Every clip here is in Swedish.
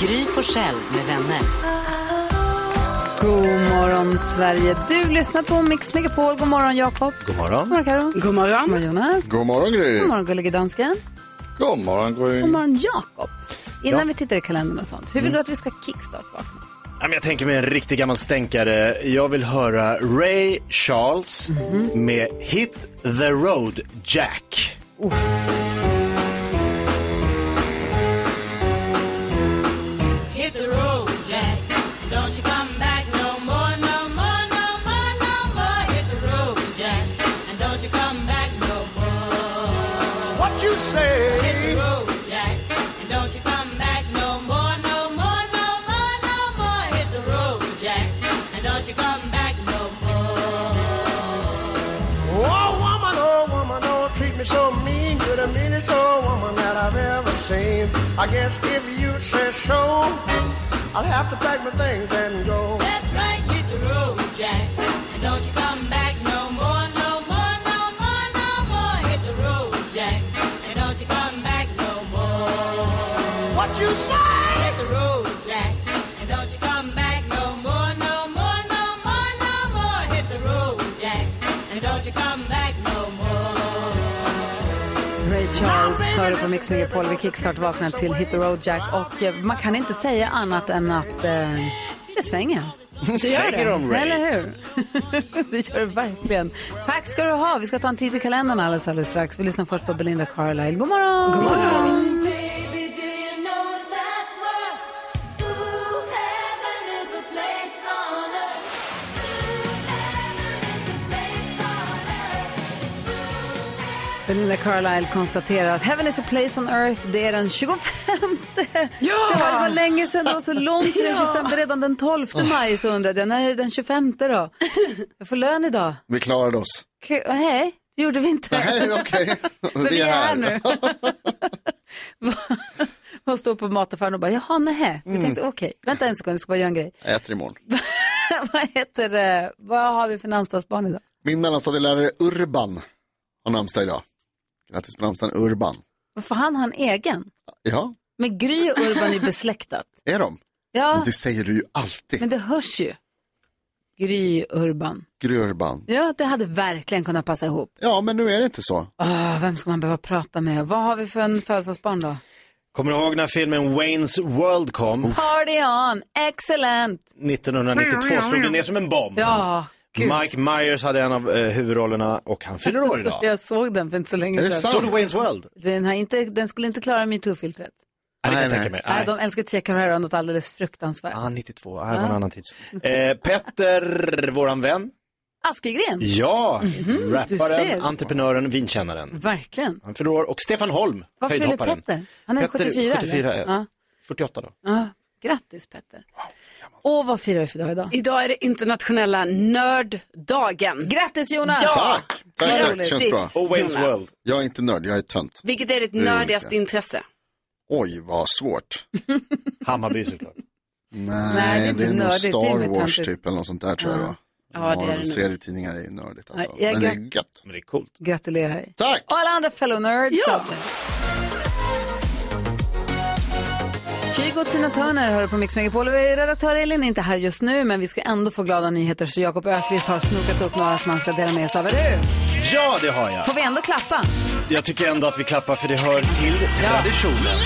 Gry Forssell med vänner. God morgon Sverige. Du lyssnar på Mix Megapol. God morgon Jakob. God morgon. God morgon Karo. God morgon. God morgon Jonas. God morgon Gry. God morgon gullige dansken. God morgon Gry. God morgon Jakob. Innan vi tittar i kalendern och sånt, hur vill du att vi ska kickstart-vakna? Ja, men Jag tänker mig en riktig gammal stänkare. Jag vill höra Ray Charles med Hit the Road Jack. Hit the road, Jack. Don't you come back no more, no more, no more, no more. Hit the road, Jack. And don't you come back no more. What you say? Hit the road, Jack. And don't you come back no more, no more, no more, no more. Hit the road, Jack. And don't you come back no more. Oh, woman, oh, woman, oh, treat me so mean. You're the meanest old woman that I've ever seen. I guess if you say so, I'll have to pack my things and go. That's right, hit the road, Jack. And don't you come back no more, no more, no more, no more. Hit the road, Jack. And don't you come back no more. What you say? Hit the road, Jack. And don't you come back no more, no more, no more, no more. Hit the road, Jack. And don't you come back no more. Ray Charles hör du på Mix Megapol. Vi kickstart-vaknar till Hit the Road Jack. Och eh, man kan inte säga annat än att eh, det svänger. Det gör Svänger om, Ray. Eller hur? det gör det verkligen. Tack ska du ha. Vi ska ta en titt i kalendern alldeles, alldeles strax. Vi lyssnar först på Belinda Carlisle. God morgon! God morgon! Belinda Carlisle konstaterar att Heaven is a place on earth, det är den 25. Ja! Det var, det var länge sedan, det var så långt till den 25. Redan den 12 maj så undrade jag, när är det den 25 då? Jag får lön idag. Vi klarade oss. Kul. Nej, det gjorde vi inte. Nej, okej. Men vi är här nu. Man står på mataffären och bara, jaha, nej. Mm. Vi tänkte, okej, vänta en sekund, jag ska bara göra en grej. Jag äter imorgon. vad heter det, vad har vi för namnsdagsbarn idag? Min mellanstadielärare Urban har namnsdag idag. Grattis på namnsdagen Urban. För han har en egen. Ja, Men Gry och Urban är ju besläktat. är de? Men Ja, det säger du ju alltid. men det hörs ju. Gry Urban. Gry Urban. Ja, det hade verkligen kunnat passa ihop. Ja, men nu är det inte så. Åh, vem ska man behöva prata med? Vad har vi för en födelsedagsbarn då? Kommer du ihåg när filmen Wayne's World kom? Party on, excellent! 1992 slog den ner som en bomb. Ja, gud. Mike Myers hade en av eh, huvudrollerna och han fyller år idag. Jag såg den för inte så länge Är det sedan. sant? Såg du Wayne's World? Den, har inte, den skulle inte klara metoo-filtret. Nej, det kan Nej, jag nej. tänka mig. Nej, Nej. de älskar Tia Carrera något alldeles fruktansvärt. Ah, 92, ah, det var en annan tid. Eh, Petter, våran vän. Askegren, Mhm. Ja, du ser. rapparen, Ah. entreprenören, vinkännaren. verkligen. Han fyller år. Och Stefan Holm, Vad fyller höjdhopparen. Petter? Han är Petter, 74. 74, eller? ja. ja. 48 då. ja. Grattis Petter. Och vad firar vi för dag idag? Idag är det internationella nörddagen. Grattis Jonas! Ja! Tack! Tack, tack. Grattis. Känns bra. Och Wayne's Jonas. World. Jag är inte nörd, jag är tönt. Vilket är ditt är nördigaste olika. intresse? Oj, vad svårt. Hammarby såklart. Nej, Nej, det är det är, inte nog nördigt, det är Star med Wars töntigt. typ eller något sånt där tror jag det var. Ja, det är det nog. Serietidningar är ju nördigt alltså. Ja, jag Men det gra- är gött. Men det är coolt. Gratulerar dig. Tack! Och alla andra fellow nerds. Ja. out there. Kygo och Tina Turner hör du på Mix Megapol. Och Redaktör Elin är inte här just nu, men vi ska ändå få glada nyheter. Så Jakob Ökvist har snokat upp några som han ska dela med sig av. Eller hur? Ja, det har jag. Får vi ändå klappa? Jag tycker ändå att vi klappar för det hör till traditionen.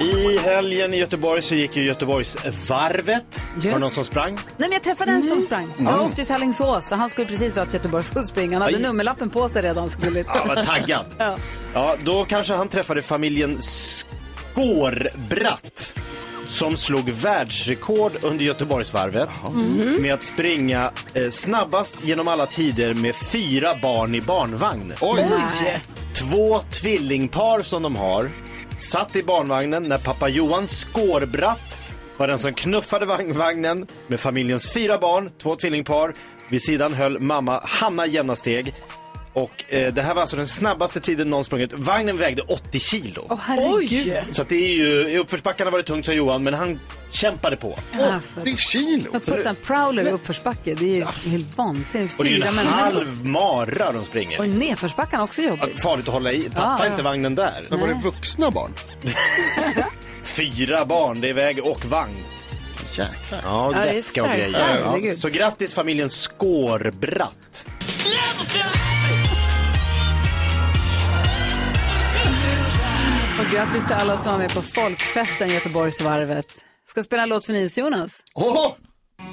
I helgen i Göteborg så gick ju Göteborgsvarvet. Var det någon som sprang? Nej, men jag träffade en som sprang. Han åkte till Alingsås och han skulle precis dra till Göteborg för att springa. Han hade Aj. nummerlappen på sig redan. Skulle... Han var taggad. Ja. Ja, då kanske han träffade familjen Skårbratt. som slog världsrekord under Göteborgsvarvet Mhm. med att springa eh, snabbast genom alla tider med fyra barn i barnvagn. Oj. Oj. Två tvillingpar som de har satt i barnvagnen när pappa Johan Skårbratt var den som knuffade vagn- vagnen med familjens fyra barn, två tvillingpar. Vid sidan höll mamma Hanna jämna steg. Och eh, det här var alltså den snabbaste tiden någon sprungit. Vagnen vägde 80 kilo. Åh herregud. Så att det är ju, i uppförsbackarna var det tungt för Johan, men han kämpade på. Alltså, 80 kilo! Att putta en prowler i uppförsbacke, det är ju helt vansinnigt. Och det är ju Fyra en människor. halv mara de springer. Och i nedförsbacken också jobbigt. Att Farligt att hålla i, tappa Ja, ja. inte vagnen där. Men var det Nej. vuxna barn? Fyra barn, det är väg och vagn. Jäklar. Ja, Ja, det är vätska och starkt. grejer. Ja. Herregud. Så grattis familjen Skårbratt. Och grattis till alla som var med på folkfesten Göteborgsvarvet. Ska spela en låt för NyhetsJonas. Åh!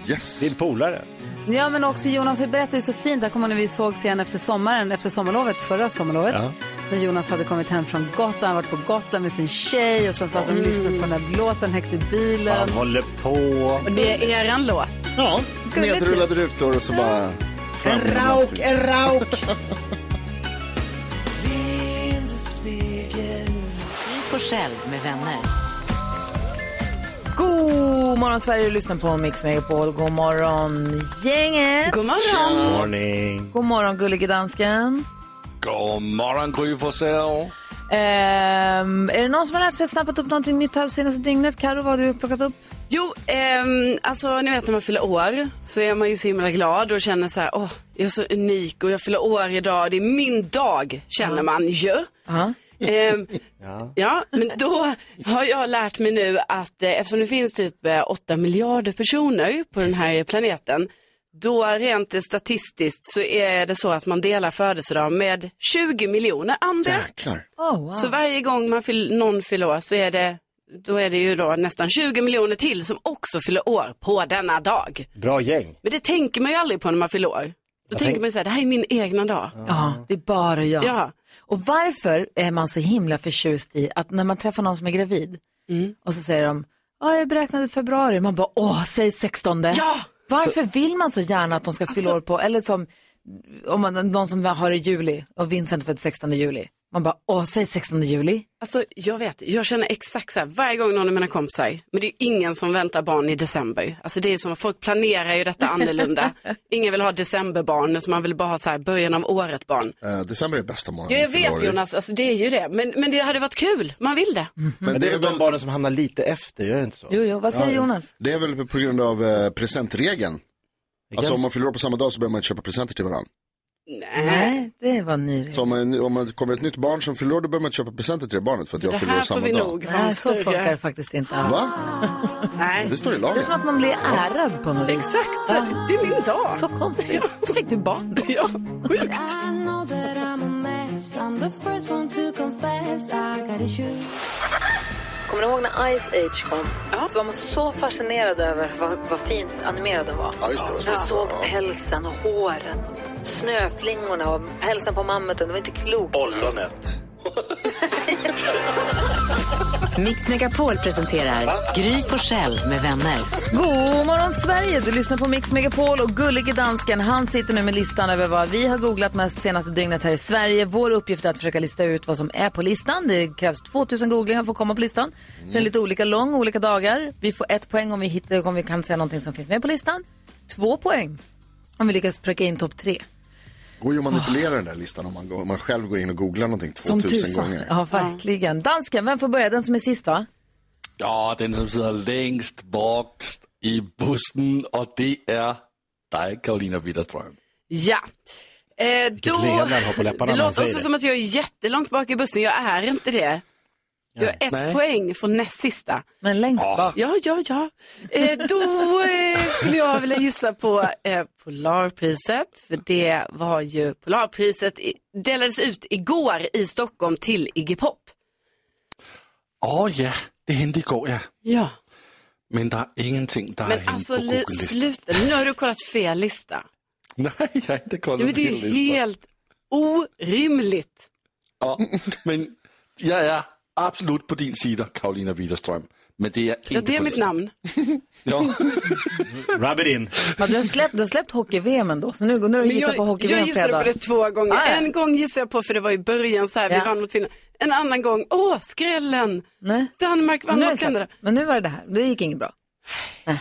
Yes! Din polare. Ja men också Jonas, vi berättade ju så fint, där kommer när vi såg sen efter sommaren, efter sommarlovet, förra sommarlovet. Ja. När Jonas hade kommit hem från Gotland, varit på Gotland med sin tjej och sen satt de Mm. och lyssnade på den där låten högt i bilen. Han håller på. Och det är eran låt. Ja, typ. Gulligt ju. Nedrullade rutor och så bara... En rauk, en rauk! Gry Forssell med vänner. God morgon Sverige, du lyssnar på Mix Megapol. God morgon gänget. God morgon. Morning. God morgon gullige dansken. God morgon Gry Forssell. Ehm, är det någon som har lärt sig snappat upp någonting nytt här senaste dygnet? Karo, vad har du plockat upp? Jo, ehm, alltså ni vet när man fyller år så är man ju så himla glad och känner så här, åh, jag är så unik och jag fyller år idag, det är min dag, känner man ju. Ehm, Ja. Ja, men då har jag lärt mig nu att eh, eftersom det finns typ eh, 8 miljarder personer på den här planeten, då rent eh, statistiskt så är det så att man delar födelsedag med 20 miljoner andra. Klar. Oh, wow. Så varje gång man fyll, någon fyller år så är det, då är det ju då nästan 20 miljoner till som också fyller år på denna dag. Bra gäng. Men det tänker man ju aldrig på när man fyller år. Då tänker tänk- man ju så här, det här är min egna dag. Ja, det är bara jag. Ja. Och varför är man så himla förtjust i att när man träffar någon som är gravid och så säger de, ja jag beräknade i februari, man bara, åh, säg 16. Ja! Varför vill man så gärna att de ska fylla år på, eller som om man, någon som har i juli och Vincent född 16 juli. Man bara, åh, säg 16 juli. Alltså jag vet, jag känner exakt så här varje gång någon av mina kompisar, men det är ju ingen som väntar barn i december. Alltså det är som att folk planerar ju detta annorlunda. ingen vill ha decemberbarn, utan man vill bara ha så här början av året barn. Eh, december är bästa månaden. Ja, jag för vet Lori. Jonas, alltså det är ju det. Men, men det hade varit kul, man vill det. Mm. Men, det är väl de barnen som hamnar lite efter, gör det inte så? Jo, jo, vad säger Jonas? Det är väl på grund av eh, presentregeln. Alltså om man fyller år på samma dag så behöver man inte köpa presenter till varandra. Nej, det var ny. Så om man, om man kommer ett nytt barn som fyller år då behöver man inte köpa presenter till det barnet för att jag fyller år samma dag. Nej, så funkar det faktiskt inte alls. Va? Nej. Det står i Det är lagen. som att man blir ärad på något vis. Exakt, så här, det är min dag. Så konstigt. Så fick du barn då. Ja, sjukt. Kommer ni ihåg när Ice Age kom? Så var man så fascinerad över vad, vad fint animerad den var. Ja, just det, det var så man fint. såg Ja. pälsen och håren, snöflingorna och pälsen på mammuten. Det var inte klokt. Ollonet. Mix Megapol presenterar Gry Forssell med vänner. God morgon Sverige! Du lyssnar på Mix Megapol och gullige dansken han sitter nu med listan över vad vi har googlat mest senaste dygnet här i Sverige. Vår uppgift är att försöka lista ut vad som är på listan. Det krävs 2000 googlingar för att komma på listan. Så den är lite olika lång, olika dagar. Vi får ett poäng om vi, hittar, om vi kan säga någonting som finns med på listan. Två poäng om vi lyckas pricka in topp tre. Går ju att manipulera den där listan om man, går, om man själv går in och googlar någonting 2000 gånger. Ja, verkligen. Dansken, vem får börja? Den som är sist va? Ja, den som sitter längst bort i bussen och det är dig Karolina Widerström. Ja. Eh, då... leende han har på läpparna det när han låter säger också det. som att jag är jättelångt bak i bussen. Jag är inte det. Jag har ett Nej. poäng från näst sista. Men längst bak? Ja, ja, ja. Eh, då eh, skulle jag vilja gissa på eh, Polarpriset. För det var ju Polarpriset i, delades ut igår i Stockholm till Iggy Pop. Åh ja, det hände igår ja. Ja. Men det är ingenting där Men har hänt alltså på li- Google-listan. sluta, nu har du kollat fel lista. Nej, jag har inte Ja, kollat men det är fel ju listan. helt orimligt. Ja, men jag är absolut på din sida, Karolina Widerström. Men det är inte Ja, det är på mitt listan. namn. Ja. Rub it in. Ja, du har släppt, du har släppt hockey-VM ändå, så nu, nu har du Men gissat jag, på hockey-VM jag gissade på det två gånger. Ah, ja. En gång gissade jag på, för det var i början så här, Ja. vi vann mot Finland. En annan gång, åh, skrällen. Danmark vann Nu är mot det Kanada. Men nu var det det här, det gick inget bra. Nej.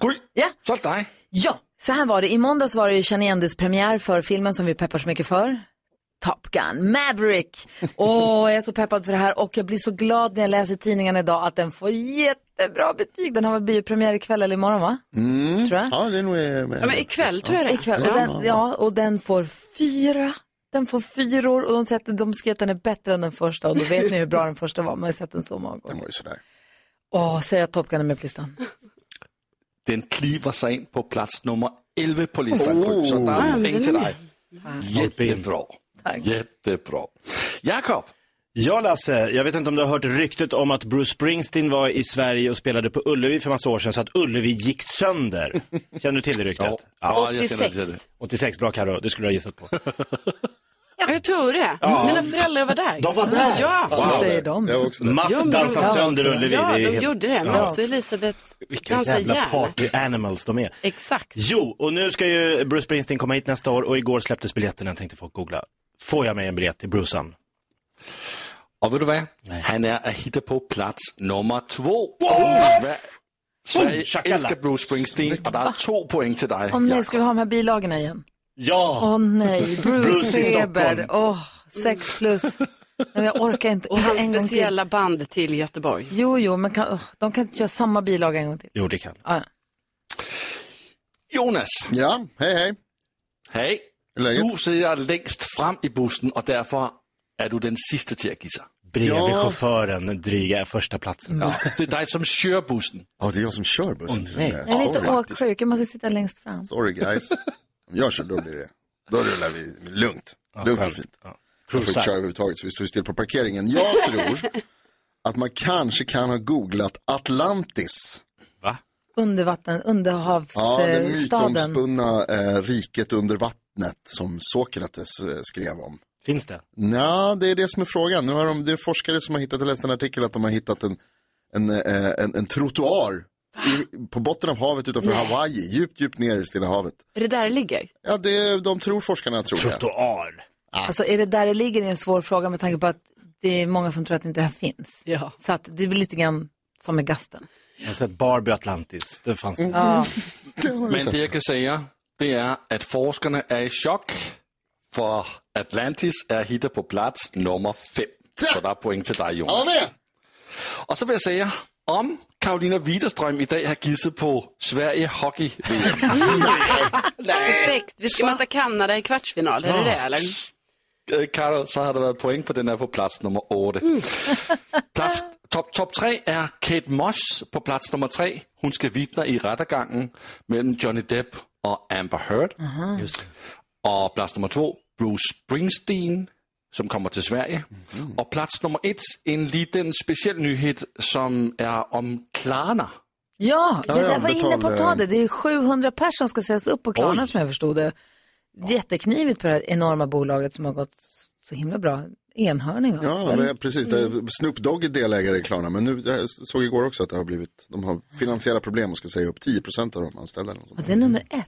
Gry, ja. så dig. Ja, så här var det. I måndags var det ju Känn igen premiär för filmen som vi peppar så mycket för. Top Gun, Maverick. Åh, jag är så peppad för det här och jag blir så glad när jag läser tidningen idag att den får jättebra betyg. Den har väl biopremiär ikväll eller imorgon va? Mm. Tror jag. Ja, det är nog... eh, Ja, men ikväll tror jag det är. Ikväll. Och Ja. den, ja, och den får fyra. Den får fyror och de, säger att de skrev att den är bättre än den första och då vet ni hur bra den första var. Man har ju sett den så många gånger. Den var ju sådär. Åh, säg att Top Gun är med på listan. Den kliver sig in på plats nummer 11 på listan. Gry. Så där Ja, är men den en poäng till är- dig. Jättebra. Jättebra. Jakob. Ja, Lasse, jag vet inte om du har hört ryktet om att Bruce Springsteen var i Sverige och spelade på Ullevi för massa år sedan så att Ullevi gick sönder. Känner du till det ryktet? Ja, jag känner till det. 86, bra Carro, det skulle du ha gissat på. Ja, jag tror det. Ja. Mina föräldrar var där. De var där? Ja. Mats Jo, men- dansar Ja, sönder också. Ullevi. Ja, det de är helt- gjorde det. Ja. Mats och Elisabeth Vilka dansar jävla järn. party animals de är. Exakt. Jo, och nu ska ju Bruce Springsteen komma hit nästa år och igår släpptes biljetterna. Jag tänkte folk googla. Får jag mig en biljett till Brucean? Och vet du vad? Han är att hitta på plats nummer två. Oh, Vad- Sverige shakalaka. älskar Bruce Springsteen och det är två poäng till dig. Åh nej, ska vi ha de här bilagorna igen? Ja! Åh nej, Bruce, Bruce i Feber. Stockholm. Åh, sex plus. Men jag orkar inte. Och Inte hans en gång till. speciella band till Göteborg. Jo, jo, men kan, åh, de kan inte göra samma bilaga en gång till. Jo, det kan. Ah, ja. Jonas. Ja, hej hej. Hej. Du sitter längst fram i bussen och därför är du den sista till att gissa. Bredvid chauffören dryga första platsen. Ja, det är dig som kör bussen. Ja, det är jag som kör bussen. nej. Jag är lite åksjuk, jag måste sitta längst fram. Sorry guys. Om jag kör då blir det, då rullar vi lugnt. lugnt och skönt. fint. Ja. Jag får inte Cruisar. köra överhuvudtaget så vi står ju still på parkeringen. Jag tror att man kanske kan ha googlat Atlantis. Undervatten, Ja, det underhavsstaden. mytomspunna eh, riket under vattnet som Sokrates eh, skrev om. Finns det? Ja, det är det som är frågan. Nu har de, det är forskare som har hittat, jag läste en artikel att de har hittat en, en, eh, en, en trottoar i, på botten av havet utanför Nej. Hawaii, djupt, djupt ner i Stilla havet. Är det där det ligger? Ja, det, de tror forskarna tror det. Trottoar. alltså, är det där det ligger är en svår fråga med tanke på att det är många som tror att inte det här finns. Ja. Så att det blir lite grann som med gasten. Jag har sett Barbie Atlantis. Det fanns det. Mm. Ja. Men det jag kan säga, det är att forskarna är i chock. För Atlantis är hittat på plats nummer fem. Så det är poäng till dig Jonas. Och så vill jag säga, om Karolina Widerström idag har gissat på Sverige hockey-VM. Perfekt. Vi ska möta Kanada i kvartsfinal. Är det det eller? Eh, Karo, så har det varit poäng för den är på plats nummer åtta. Mm. plats, top, top tre är Kate Moss på plats nummer tre. Hon ska vittna i rättegången mellan Johnny Depp och Amber Heard. Och plats nummer två, Bruce Springsteen som kommer till Sverige. Och plats nummer ett, en liten speciell nyhet som är om Klarna. Ja, Ja, det, ja, jag var betal- inne på att ta det. Det är 700 personer som ska sägas upp på Klarna Oj. som jag förstod det. Jätteknivigt på det här enorma bolaget som har gått så himla bra. Enhörning va? Ja, Eller? men precis. Mm. Det, Snoop Dogg är delägare i Klarna, men nu, jag såg igår också att det har blivit, de har finansiella problem och ska säga upp 10% av de anställda. Eller något sånt. Och det är nummer ett.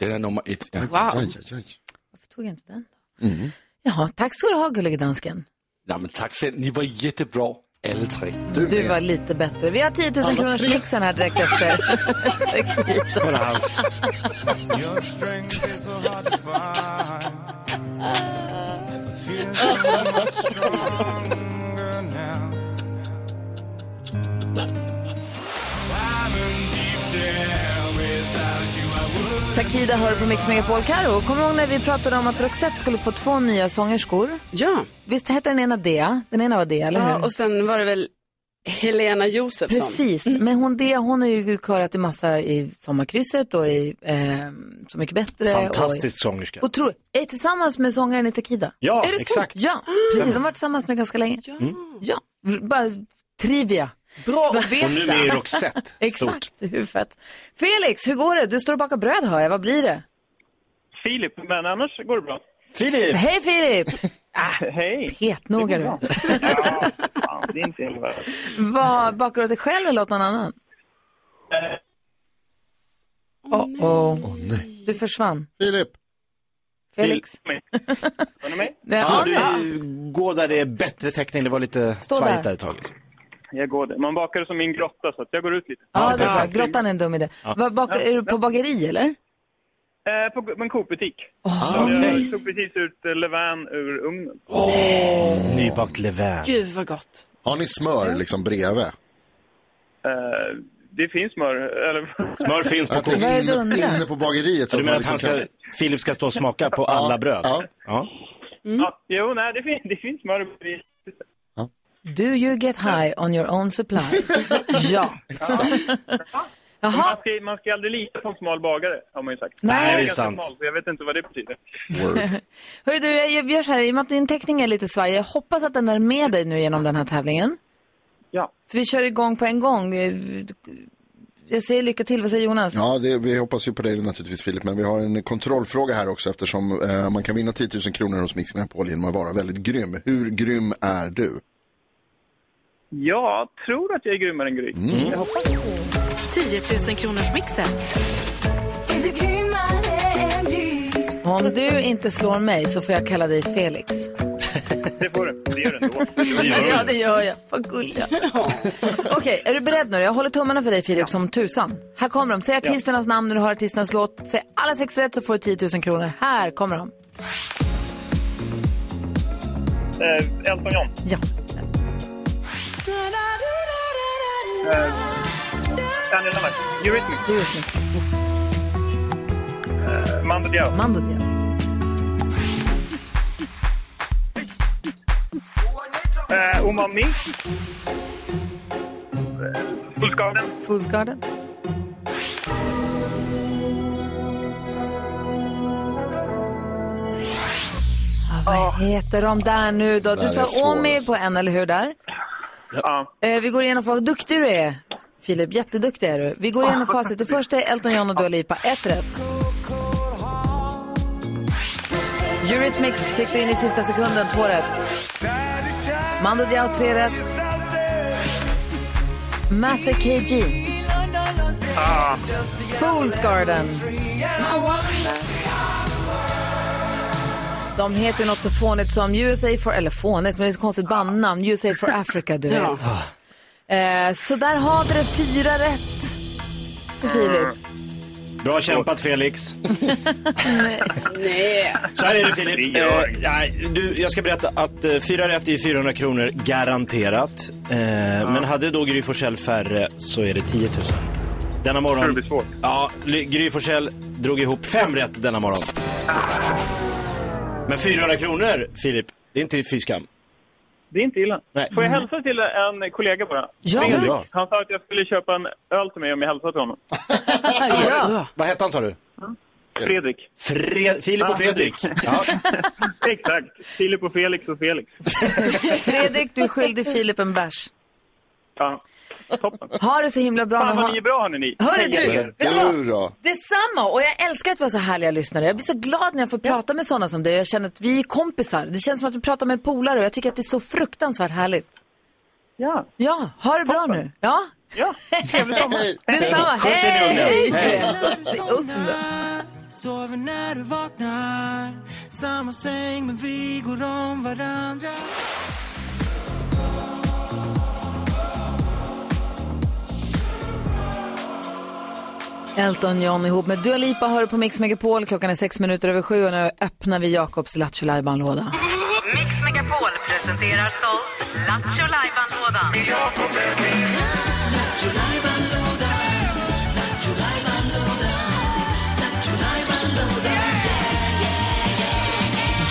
Den är nummer ett. Ja. Wow. Tog jag inte den? Mhm. Jaha, tack ska du ha gullige dansken. Nej, men tack själv, ni var jättebra alla tre. Du, var lite bättre. Vi har 10 000 Alla kronors tre. mixen här direkt efter. Kolla hans. Takida hör på Mix Megapol. Karo, kommer du ihåg när vi pratade om att Roxette skulle få två nya sångerskor? Ja. Visst hette den ena Dea? Den ena var Dea, eller hur? Ja, och sen var det väl Helena Josefsson. Precis, men hon, det, hon har ju körat i massa i Sommarkrysset och i eh, Så mycket bättre. Fantastisk sångerska. Och, och tror, är tillsammans med sångaren i Takida. Ja, är det så? exakt. Ja, precis. De har varit tillsammans nu ganska länge. Ja. ja. Bara trivia. Bra att Mm. Och nu är Roxette. Exakt, hur fett. Felix, hur går det? Du står och bakar bröd hör jag. Vad blir det? Filip, men annars går det bra. Filip! Hej Filip! Hej! Petnoga du. Fan, det är inte hela världen. Vad bakar du dig själv eller åt någon annan? Åh, åh. Du försvann. Filip. Felix. Nej, Ja, ja, nej. du går där det är bättre täckning. Det var lite Stå där. svajigt där ett tag. liksom. Jag går där. Man bakar det som i en grotta, så att jag går ut lite. Ja, det är bra. Grottan är en dum idé. Ja. Vad bakar- är du på bageri eller? Eh, på, på en Coop-butik. Oh, jag tog precis ut eh, levain ur ugnen. Eh, Nybakt levain. Gud vad gott. Har ni smör liksom bredvid? Eh, det finns smör. Eller... Smör finns på Jag Coop. tänker Vad är det inne- undrar? inne på bageriet så Ja, Du att menar man att han liksom ska, kan- Filip ska stå och smaka på alla bröd? ja. Ja. Mm. Ja, jo, nej, det finns, det finns smör i bageriet. Do you get high on your own supply? ja. Men Man ska, man ska aldrig lita på en smal bagare, har man ju sagt. Nej. Jag Det är ganska sant. Smal, så jag vet inte vad det betyder. Hörru du, jag jag gör så här, i och med att din teckning är lite svajig, jag hoppas att den är med dig nu genom den här tävlingen. Ja. Så vi kör igång på en gång. Jag säger lycka till, vad säger Jonas? Ja, det, vi hoppas ju på dig naturligtvis Filip, men vi har en kontrollfråga här också eftersom eh, man kan vinna 10 000 kronor hos Mix Megapol genom att vara väldigt grym. Hur grym är du? Jag tror att jag är grymmare än Gry. Mm. Jag hoppas. 10 000 kronors mixen. Om du inte slår mig så får jag kalla dig Felix. Det får du. Det gör du ändå. Ja, det gör jag. Vad gulliga. Okej, är du beredd nu? Jag håller tummarna för dig, Filip, som tusan. Här kommer de. Säg artisternas namn när du hör artisternas låt. Säg alla sex rätt så får du 10 000 kronor. Här kommer de. Eh, Elton John. Ja. Eh, Annie Lamar. Eurythmics. Eurythmics. Eh, Mando Diao. Mando Diao. Eh, Umami. Fullskaden. Fools Garden. Ah, vad heter de där nu då? Där Du är sa svår, Omi på en, eller hur? där? Ja. Eh, vi går igenom vad duktig du är. Filip, jätteduktig är du. Vi går igenom facit. Det första är Elton John och Dua Lipa. Ett rätt. Eurythmics fick du in i sista sekunden. Två rätt. Mando Diao, tre rätt. Master KG. Ah. Fools Garden. De heter ju något så fånigt som USA for, eller fånigt, men det är så konstigt bandnamn, USA for Africa du vet. Eh, så där har vi det, fyra rätt för Filip. Bra kämpat Felix. Nej. Så här är det Filip. Eh, nej, du, jag ska berätta att eh, fyra rätt är 400 kronor garanterat. Eh, Men hade då Gry Forssell färre så är det 10 000. Denna morgon... Det blir svårt. Ja, Ly- Gry Forssell drog ihop fem rätt denna morgon. Men 400 kronor Filip, det är inte fy skam. Det är inte illa. Nej. Får jag hälsa till en kollega bara? Ja. Ring. Det är bra. Han sa att jag skulle köpa en öl till mig om jag hälsade till honom. Vad hette han sa du? Fredrik. Fre- Filip Ah, och Fredrik. Ja. Exakt. Filip och Felix och Felix. Fredrik, du är skyldig Filip en bärs. Ja. Ha det så himla bra. Fan nu. vad Ha- ni är bra hörni. Hörru du, vet du vad? Detsamma! Och jag älskar att vi har så härliga lyssnare. Jag blir så glad när jag får prata med sådana som dig. Jag känner att vi är kompisar. Det känns som att vi pratar med polare och jag tycker att det är så fruktansvärt härligt. Ja. Ja, ha det bra nu. Ja. Ja, trevlig sommar. Detsamma. Skjuts in i ugnen. Hej! Hej. Skjuts i ugnen. Sover när du vaknar Samma säng men vi går om varandra Elton John ihop med Dua Lipa hör på Mix Megapol. Klockan är sex minuter över sju och nu öppnar vi Jakobs Lattjo låda Mix Megapol presenterar stolt Lattjo Lajban-lådan.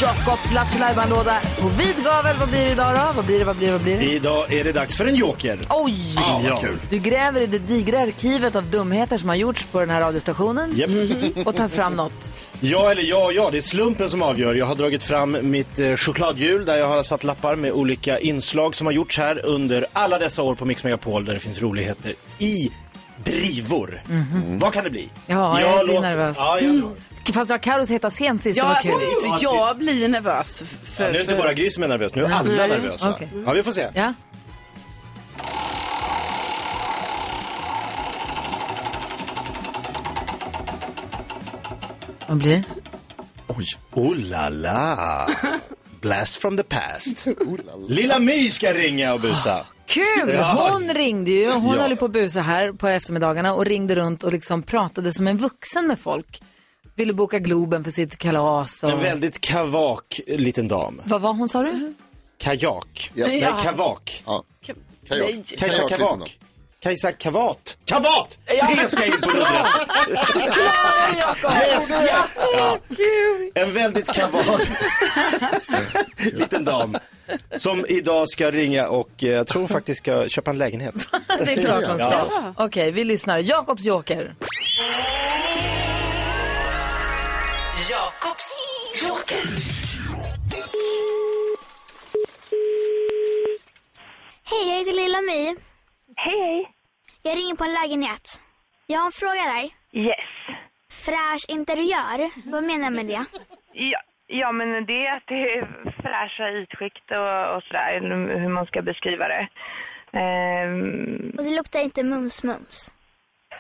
Jakobs Lattjo låda på vid gavel. Vad blir det idag då? Vad blir det, vad blir det, vad blir det? Idag är det dags för en joker. Oj! Ja, vad kul. Du gräver i det digra arkivet av dumheter som har gjorts på den här radiostationen Japp. Mhm. och tar fram något. Ja eller ja, ja, det är slumpen som avgör. Jag har dragit fram mitt eh, chokladhjul där jag har satt lappar med olika inslag som har gjorts här under alla dessa år på Mix Megapol där det finns roligheter i drivor. Vad kan det bli? Ja, jag, blir låter- nervös. Mm. Ja, jag... Fast det var Carros heta scen sist, Ja, det var alltså, kul. så jag blir nervös. f- För, Ja, nu är det inte för- bara Gry som är nervös, nu är alla Nej. nervösa. Okej. Ja, vi får se. Ja. Vad blir Oj. Oh la la. Blast from the past. Lilla My ska ringa och busa. Kul! Ja. Hon ringde ju, hon Ja. höll ju på att busa här på eftermiddagarna och ringde runt och liksom pratade som en vuxen med folk. Ville boka Globen för sitt kalas och... En väldigt kavak liten dam. Vad var hon sa du? Kajak. Ja. Nej, Ja. kavak. Kajak. Nej. Kajsa Kajak Kavak. liten Kajsa Kavat. Kavat! Ja, men- Det ska in på rodret. Du klarar det, Jakob. Yes! Ja. Ja. En väldigt kavat liten dam. Som idag ska ringa och eh, jag tror faktiskt ska köpa en lägenhet. Det är klart hon ska. Ja. Okej, vi lyssnar. Jakobs joker. Jakobs joker. Hej, jag heter Lilla My. Hej, hej. Jag ringer på en lägenhet. Jag har en fråga där. Yes. Fräsch interiör, vad menar jag med det? Ja, ja, men det är att det är fräscha ytskikt och, och sådär, eller hur man ska beskriva det. Ehm, Och det luktar inte mums-mums.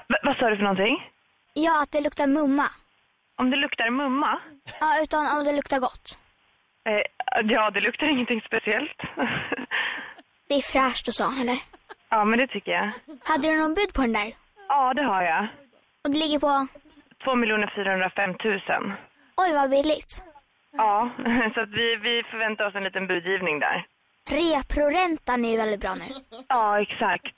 v- vad sa du för någonting? Ja, att det luktar mumma. Om det luktar mumma? Ja, utan om det luktar gott. Eh, ja, det luktar ingenting speciellt. Det är fräscht och så, eller? ja, men det tycker jag. Hade du någon bud på den där? Ja, det har jag. Och det ligger på... 2 405 000. Oj, vad billigt. Ja, så att vi, vi förväntar oss en liten budgivning där. Reproräntan är ju väldigt bra nu. Ja, exakt.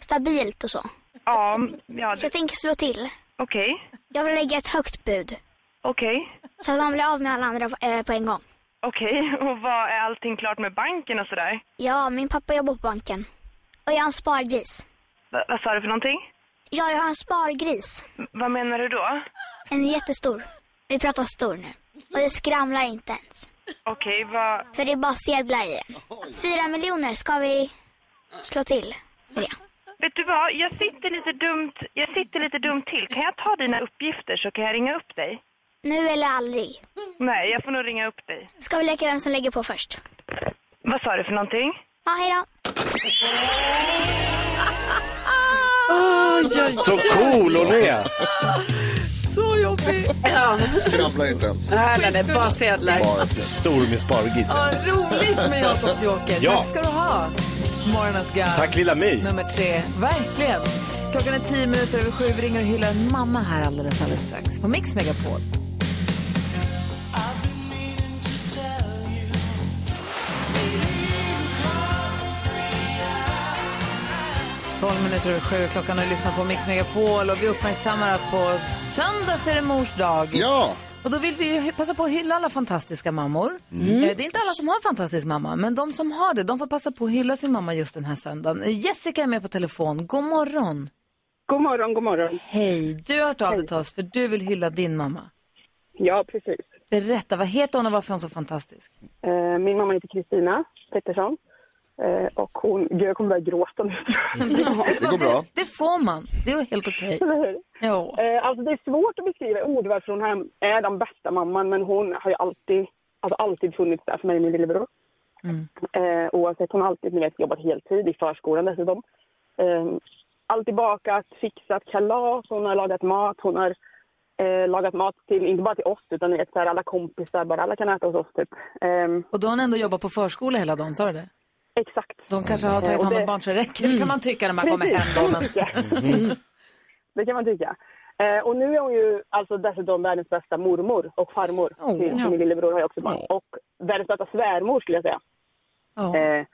Stabilt och så. Ja, ja. Så jag tänker slå till. Okej. Jag vill lägga ett högt bud. Okej. Så att man blir av med alla andra eh, på en gång. Okej, och vad är allting klart med banken och sådär? Ja, min pappa jobbar på banken. Och jag har en spargris. Va, vad sa du för någonting? Ja, jag har en spargris. Vad menar du då? En jättestor. Vi pratar stor nu. Och det skramlar inte ens. Okej, vad... För det är bara sedlar i den. Fyra miljoner ska vi slå till. Vet du vad, jag sitter lite dumt, jag sitter lite dumt till. Kan jag ta dina uppgifter så kan jag ringa upp dig? Nu eller aldrig. Nej, jag får nog ringa upp dig. Ska vi leka vem som lägger på först? Vad sa du för någonting? Ja, hej då. Oj, oj, Så oj. cool hon är. Så jobbig. Ja. Skramlar inte ens. Nej, nej, nej, bara sedlar. Stor med Ja, spargrisen. roligt med Jakobs joker. Ja. Tack ska du ha. Morgonens guide. Tack, lilla My. Nummer tre. Verkligen. Klockan är tio minuter över sju. Vi ringer och hyllar en mamma här alldeles, alldeles strax på Mix Megapol. Tolv minuter över sju. Klockan och lyssnar på Mix Megapol och vi uppmärksammar att på söndag så är det mors dag. Ja. Och då vill vi ju hy- passa på att hylla alla fantastiska mammor. Mm. Eh, Det är inte alla som har en fantastisk mamma, men de som har det, de får passa på att hylla sin mamma just den här söndagen. Eh, Jessica är med på telefon. God morgon. God morgon, god morgon. Hej, du har hört av dig till oss för du vill hylla din mamma. Ja, precis. Berätta, vad heter hon och varför är hon så fantastisk? Eh, Min mamma heter Kristina Pettersson. Eh, Och hon, gud, jag kommer börja gråta nu. Det går bra. Det får man. Det är helt okej. Ja. Alltså, det är svårt att beskriva i ord varför hon här är den bästa mamman, men hon har ju alltid, alltså alltid funnits där för mig och min lillebror. Mm. Eh, oavsett, hon har alltid ni vet, jobbat heltid i förskolan dessutom. Eh, alltid bakat, fixat kalas, hon har lagat mat. Hon har eh, lagat mat till, inte bara till oss, utan ni vet, så här, alla kompisar, bara alla kan äta hos oss typ. Eh, Och då har hon ändå jobbat på förskola hela dagen, sa du det? Exakt. De kanske har Eh, tagit och hand om det- barn så det räcker, kan man tycka när man kommer Precis, hem. Då, det men... kan man tycka. Det kan man tycka. Eh, och nu är hon ju alltså dessutom världens bästa mormor och farmor. Oh, till, ja. till min lillebror har jag också barn. Och världens bästa svärmor skulle jag säga. Ja. Eh,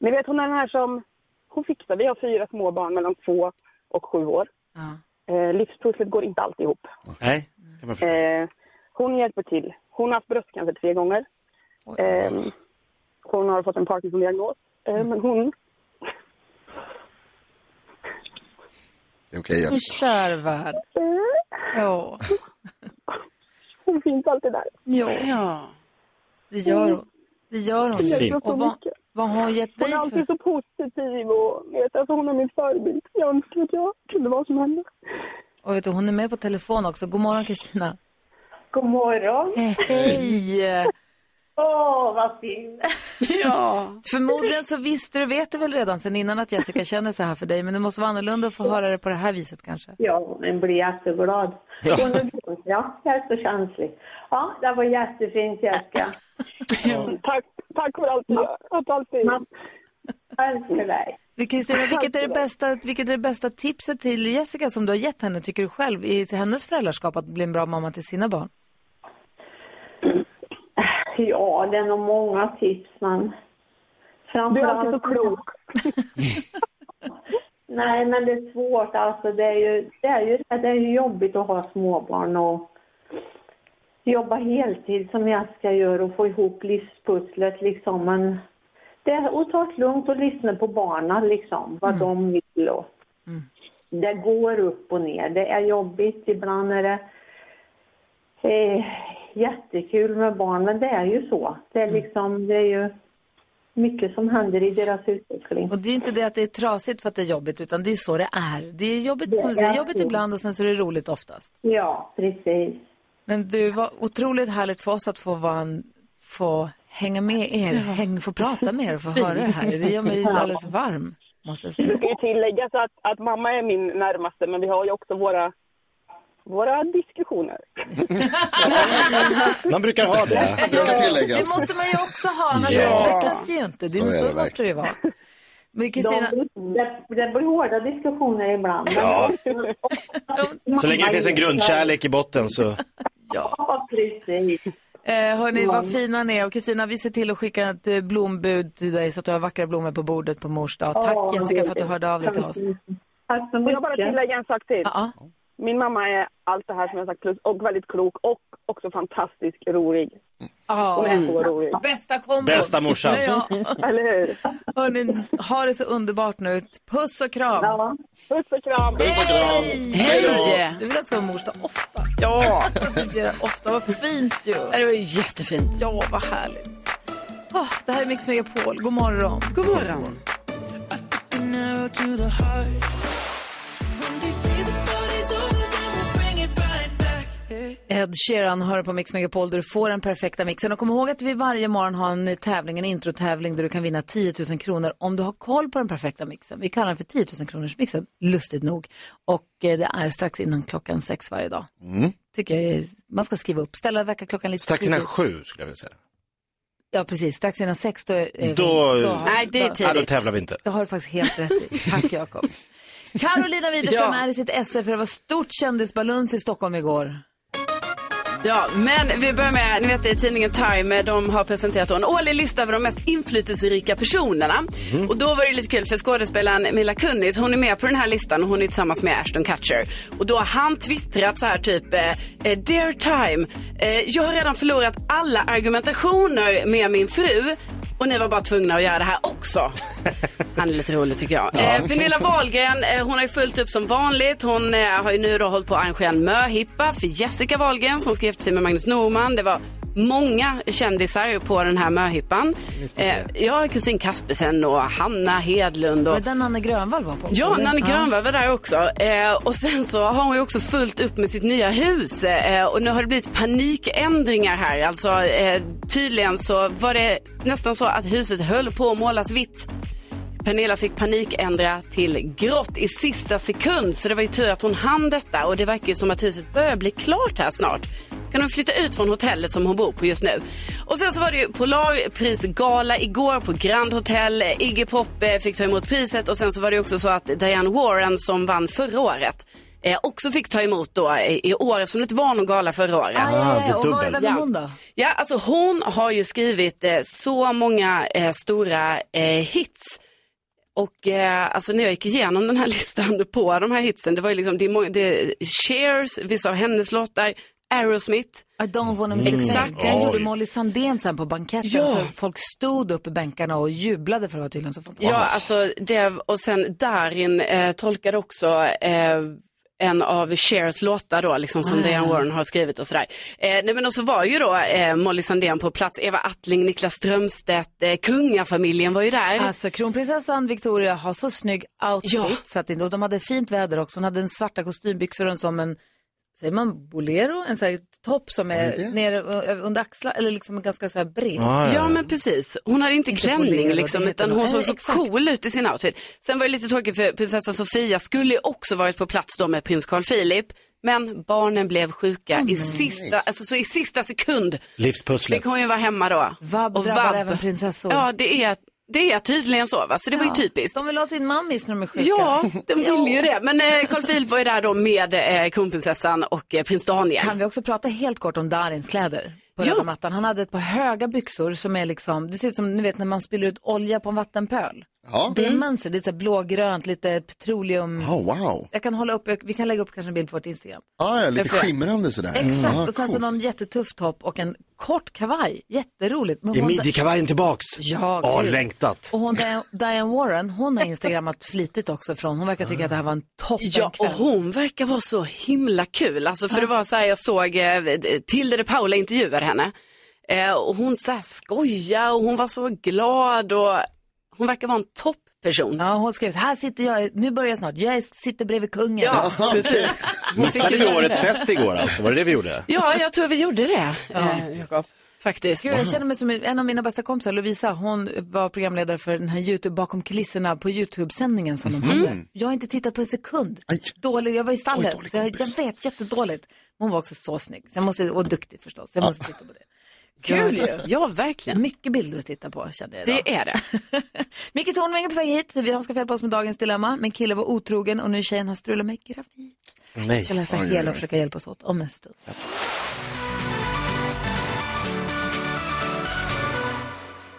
ni vet hon är den här som, hon fixar, vi har fyra små barn mellan två och sju år. Eh, livspusslet går inte alltid ihop. Nej. Eh, hon hjälper till. Hon har haft bröstcancer tre gånger. Eh, hon har fått en Parkinson-diagnos. Eh, Mm. men hon Det är okej Jessica. Kär värld. Ja. Hon finns alltid där. Ja. Det gör hon. Det gör hon. Jag älskar henne så Och vad, mycket. Vad har hon gett dig Hon är alltid för... så positiv och vet, alltså hon är min förebild. Jag önskar att jag kunde vara som henne. Och vet du, hon är med på telefon också. God morgon Kristina. God morgon. Hej! Åh, vad fint. Ja. Förmodligen så visste du, vet du väl redan sen innan att Jessica känner så här för dig, men det måste vara annorlunda att få höra det på det här viset kanske. Ja, men blir jätteglad. Ja, ja jättekänslig. Ja, det var jättefint Jessica. Tack, tack för allt du gör. Att alltid. Älskar dig. Men Kristina, vilket är, det bästa, vilket är det bästa tipset till Jessica som du har gett henne, tycker du själv, i hennes föräldraskap att bli en bra mamma till sina barn? Ja, det är nog många tips, men framförallt... Du är alltså klok. Nej, men det är svårt alltså. Det är ju, det är ju, det är ju jobbigt att ha småbarn och jobba heltid som jag ska göra och få ihop livspusslet liksom. Men det är att ta det lugnt och lyssna på barnen liksom, Mm. vad de vill och det går upp och ner. Det är jobbigt. Ibland är det eh, jättekul med barn, men det är ju så. Det är liksom, det är ju mycket som händer i deras utveckling. Och det är ju inte det att det är trasigt för att det är jobbigt, utan det är så det är. Det är jobbigt, som du säger, jobbigt ibland och sen så är det roligt oftast. Ja, precis. Men du, var otroligt härligt för oss att få, vara en, få hänga med er, häng, få prata med er och få höra det här. Det gör mig alldeles varm, måste jag säga. Det ska ju tilläggas att, att mamma är min närmaste, men vi har ju också våra, våra diskussioner. Man brukar ha det. Det ska Det tilläggas. måste man ju också ha, annars Ja. utvecklas det ju inte. Det, Så är så det så verkligen. måste det ju vara. Men Kristina, De, det, det blir hårda diskussioner ibland. Ja. Så länge det finns en grundkärlek i botten så. Ja, precis. eh, hörni, Ja. vad fina ni är. Och Kristina, vi ser till att skicka ett eh, blombud till dig så att du har vackra blommor på bordet på mors dag. Tack Åh, Jessica för att du hörde av dig till oss. Tack så Får jag bara mycket. tillägga en sak till? Min mamma är allt det här som jag sagt plus och väldigt klok och också fantastiskt rolig. Hon är så rolig. Mm. Bästa kombon. Bästa morsan. Ja. Hörni, ha det så underbart nu. Puss och kram. Puss och kram. Puss och kram. Hej! Du vill att det ska vara mors dag ofta? Ja. ofta. Vad fint ju. Det var jättefint. Ja, vad härligt. Åh, det här är Mix Megapol. God morgon. God morgon. an arrow to the heart. When they say the party's over, then we'll bring it right back. Ed Sheeran hör på Mix Megapol där du får den perfekta mixen. Och kom ihåg att vi varje morgon har en tävling, en introtävling där du kan vinna 10 000 kronor om du har koll på den perfekta mixen. Vi kallar den för 10 000 kronors mixen, lustigt nog. Och eh, det är strax innan klockan sex varje dag. Mm. Tycker jag är, man ska skriva upp, ställa väckarklockan lite Strax innan tidigt. sju skulle jag vilja säga. Ja, precis. Strax innan sex Eh, då... är- Då, har- Ja, då tävlar vi inte. Det har du faktiskt helt rätt i. Tack Jakob. Carolina Widerström Ja. är i sitt esse för det var stort kändisbalans i Stockholm igår. Ja, men vi börjar med, ni vet i tidningen Time, eh, de har presenterat då en årlig lista över de mest inflytelserika personerna. Och då var det lite kul för skådespelaren Mila Kunis, hon är med på den här listan och hon är tillsammans med Ashton Kutcher. Och då har han twittrat så här typ, eh, eh, Dear Time, eh, jag har redan förlorat alla argumentationer med min fru och ni var bara tvungna att göra det här också. Han är lite rolig tycker jag. Eh, Pernilla Wahlgren, eh, hon har ju fullt upp som vanligt. Hon eh, har ju nu då hållit på att arrangera en möhippa för Jessica Wahlgren som skrev till sig med Magnus Norman. Det var många kändisar på den här möhippan. Visst Eh, är ja, Kristin Kaspersen och Hanna Hedlund. Och... Var det den Nanne Grönvall var på? Ja, Nanne Grönvall var där också. Eh, och sen så har hon ju också fullt upp med sitt nya hus. Eh, och nu har det blivit panikändringar här. Alltså eh, tydligen så var det nästan så att huset höll på att målas vitt. Pernilla fick panikändra till grått i sista sekund så det var ju tur att hon hann detta och det verkar ju som att huset börjar bli klart här snart. Kan hon flytta ut från hotellet som hon bor på just nu. Och sen så var det ju Polarprisgala igår på Grand Hotel. Iggy Pop eh, fick ta emot priset och sen så var det ju också så att Diane Warren som vann förra året eh, också fick ta emot då eh, i år som det inte var någon gala förra året. Ah, ja, ja, ja. Och vad- vem är hon då? Ja, alltså hon har ju skrivit eh, så många eh, stora eh, hits. Och eh, alltså när jag gick igenom den här listan på de här hitsen, det var ju liksom, det är, många, det är Cheers, vissa av hennes låtar, Aerosmith. I don't wanna miss Mm. Exakt. Den gjorde Molly Sandén sen på banketten. Ja. Så folk stod upp i bänkarna och jublade för att vara tydligen så fort. Ja, alltså det, och sen Darin eh, tolkade också eh, en av Chers låtar då, liksom som Ah, ja, Diane ja. Warren har skrivit och sådär. Eh, nej men och så var ju då eh, Molly Sandén på plats, Eva Attling, Niklas Strömstedt, eh, kungafamiljen var ju där. Alltså kronprinsessan Victoria har så snygg outfit. Ja. Så att, det- och de hade fint väder också. Hon hade en svarta kostymbyxor och en som en, säger man bolero? En sån här topp som Vad är är det? nere ö- under axlarna, eller liksom ganska så här bred. ja, men precis. Hon hade inte, Inte klänning bolero, det liksom, heter utan nog- hon Nej, såg så exakt. cool ut i sin outfit. Sen var det lite tråkigt för prinsessa Sofia skulle ju också varit på plats då med prins Carl Philip. Men barnen blev sjuka i, sista, alltså, så i sista sekund. Livspusslet. Fick hon ju vara hemma då. Vabb drabbar även prinsessor. Ja, det är, det är tydligen så. Va? Så det var ju Ja. typiskt. De vill ha sin mammis när de är sjuka. Ja, de ville ju det. Men eh, Carl Philip var ju där då med eh, kronprinsessan och eh, prins Daniel. Kan vi också prata helt kort om Darins kläder? På röda mattan. Han hade ett par höga byxor som är liksom, det ser ut som ni vet när man spiller ut olja på en vattenpöl. Ja. Det är Mm. mönster, lite så här blågrönt, lite petroleum. Oh, wow. Jag kan hålla upp, jag- vi kan lägga upp kanske en bild på vårt Instagram. Ah, ja, lite Därför- skimrande sådär. Exakt, Ja, och sen så coolt. någon jättetuff topp och en kort kavaj. Jätteroligt. Men Är hon- midjekavajen tillbaks? Ja, Ja, gud. längtat. Och hon, Dia- Diane Warren, hon har instagrammat flitigt också från, hon verkar tycka att det här var en toppen Ja, och hon verkar vara så himla kul. Alltså, för det var så här, jag såg eh, Tilde de Paula intervjuade henne. Eh, och hon så här skojade och hon var så glad och hon verkar vara en toppperson. Ja, hon skrev här sitter jag, nu börjar jag snart, jag sitter bredvid kungen. Ja, precis. Missade vi årets fest igår alltså? Var det det vi gjorde? Ja, jag tror vi gjorde det, Ja. eh, Jakob. Faktiskt. Gud, jag känner mig som en av mina bästa kompisar, Lovisa, hon var programledare för den här YouTube, bakom kulisserna på YouTube-sändningen som de hade. Mm. Jag har inte tittat på en sekund. Dålig, jag var i stallet, så jag, jag vet jättedåligt. Men Hon var också så snygg, så jag måste, och duktig förstås. Så jag måste titta på det. Kul ju. Ja, verkligen. Mycket bilder att titta på kände jag idag. Det är det. Micke Tornving är på väg hit, vi- han ska få hjälpa oss med dagens dilemma. Min kille var otrogen och nu är tjejen han strular med gravid. Jag ska läsa hela och försöka hjälpa oss åt om en stund.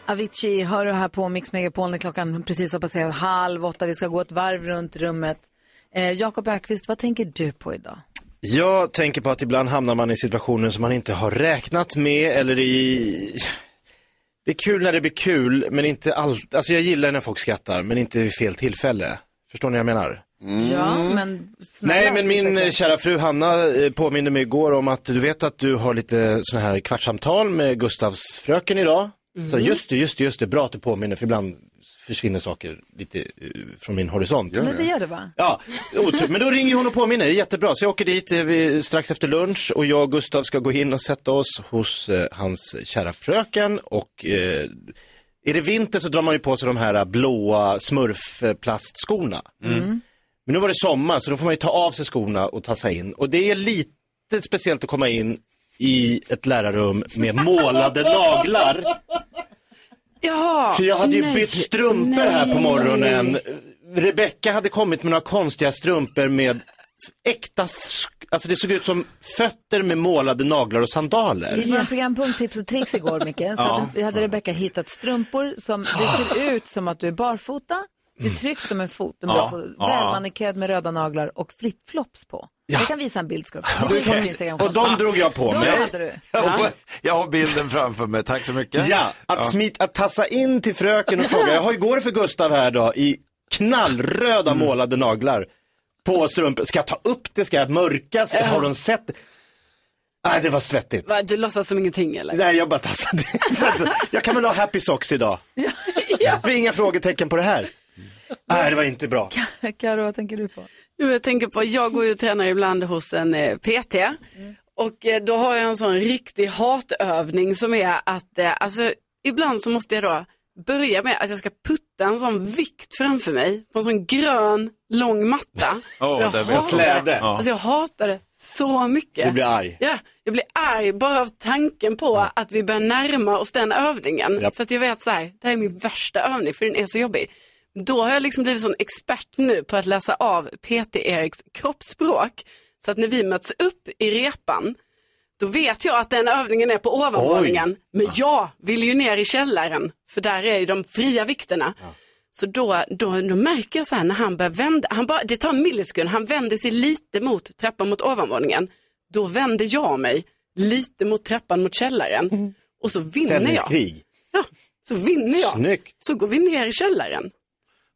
Avicii hör du här på Mix Megapol när klockan precis har passerat halv åtta. Vi ska gå ett varv runt rummet. Eh, Jakob Ökvist, vad tänker du på idag? Jag tänker på att ibland hamnar man i situationer som man inte har räknat med eller i... Det är kul när det blir kul, men inte allt. Alltså jag gillar när folk skrattar, men inte vid fel tillfälle. Förstår ni vad jag menar? Ja, men snälla. Nej, men min eh, kära fru Hanna eh, påminde mig igår om att du vet att du har lite sådana här kvartssamtal med Gustavs fröken idag. Så Mm. just det, just det, just det, bra att du påminner för ibland försvinner saker lite eh, från min horisont. Men det gör det va? Ja, otur. Men då ringer hon och påminner, Det är jättebra. Så jag åker dit eh, vid- strax efter lunch och jag och Gustav ska gå in och sätta oss hos eh, hans kära fröken och eh, är det vinter så drar man ju på sig de här eh, blåa smurfplastskorna. Mm. Mm. Men nu var det sommar så då får man ju ta av sig skorna och tassa in. Och det är lite speciellt att komma in i ett lärarrum med målade naglar. Jaha, För jag hade ju nej, bytt strumpor här på nej. morgonen. Rebecka hade kommit med några konstiga strumpor med f- äkta, sk- alltså det såg ut som fötter med målade naglar och sandaler. Vi gjorde en programpunkt Tips och tricks igår, Micke. Så Ja. hade, vi hade Rebecka hittat strumpor som det ser ut som att du är barfota. Det är tryckt som en fot, en bra Mm. Ja. fot, Ja. välmanikerad med röda naglar och flipflops på. Jag kan visa en bild ska du få. Det finns på Instagram. Och de drog jag på Då mig. hade du. Jag har, jag har bilden framför mig, tack så mycket. Ja, Ja. att, smita, att tassa in till fröken och fråga, jag har ju går för Gustav här då i knallröda målade naglar på strumpor. Ska jag ta upp det? Ska jag mörka? Ska, har de sett? det? Nej, det var svettigt. Va, du låtsas som ingenting eller? Nej, jag bara tassade in. Så att- Jag kan väl ha happy socks idag? Det är inga frågetecken på det här. Nej, det var inte bra. Karo, vad tänker du på? Jo, jag tänker på, jag går ju och tränar ibland hos en eh, PT. Och eh, då har jag en sån riktig hatövning som är att, eh, alltså ibland så måste jag då börja med att jag ska putta en sån vikt framför mig på en sån grön lång matta. Åh, jag, där vet hatar jag. det. Ja. Alltså, jag hatar det så mycket. Du blir arg. Ja, jag blir arg bara av tanken på att vi börjar närma oss den övningen. Japp. För att jag vet så här, det här är min värsta övning för den är så jobbig. Då har jag liksom blivit sån expert nu på att läsa av Peter Eriks kroppsspråk. Så att när vi möts upp i repan, då vet jag att den övningen är på ovanvåningen. Oj. Men jag vill ju ner i källaren, för där är ju de fria vikterna. Så då, då, då märker jag så här när han börjar vända, han bara, det tar en millisekund, han vänder sig lite mot trappan mot ovanvåningen. Då vänder jag mig lite mot trappan mot källaren Mm. och så vinner jag. Ställningskrig. Så vinner jag. Snyggt. Så går vi ner i källaren.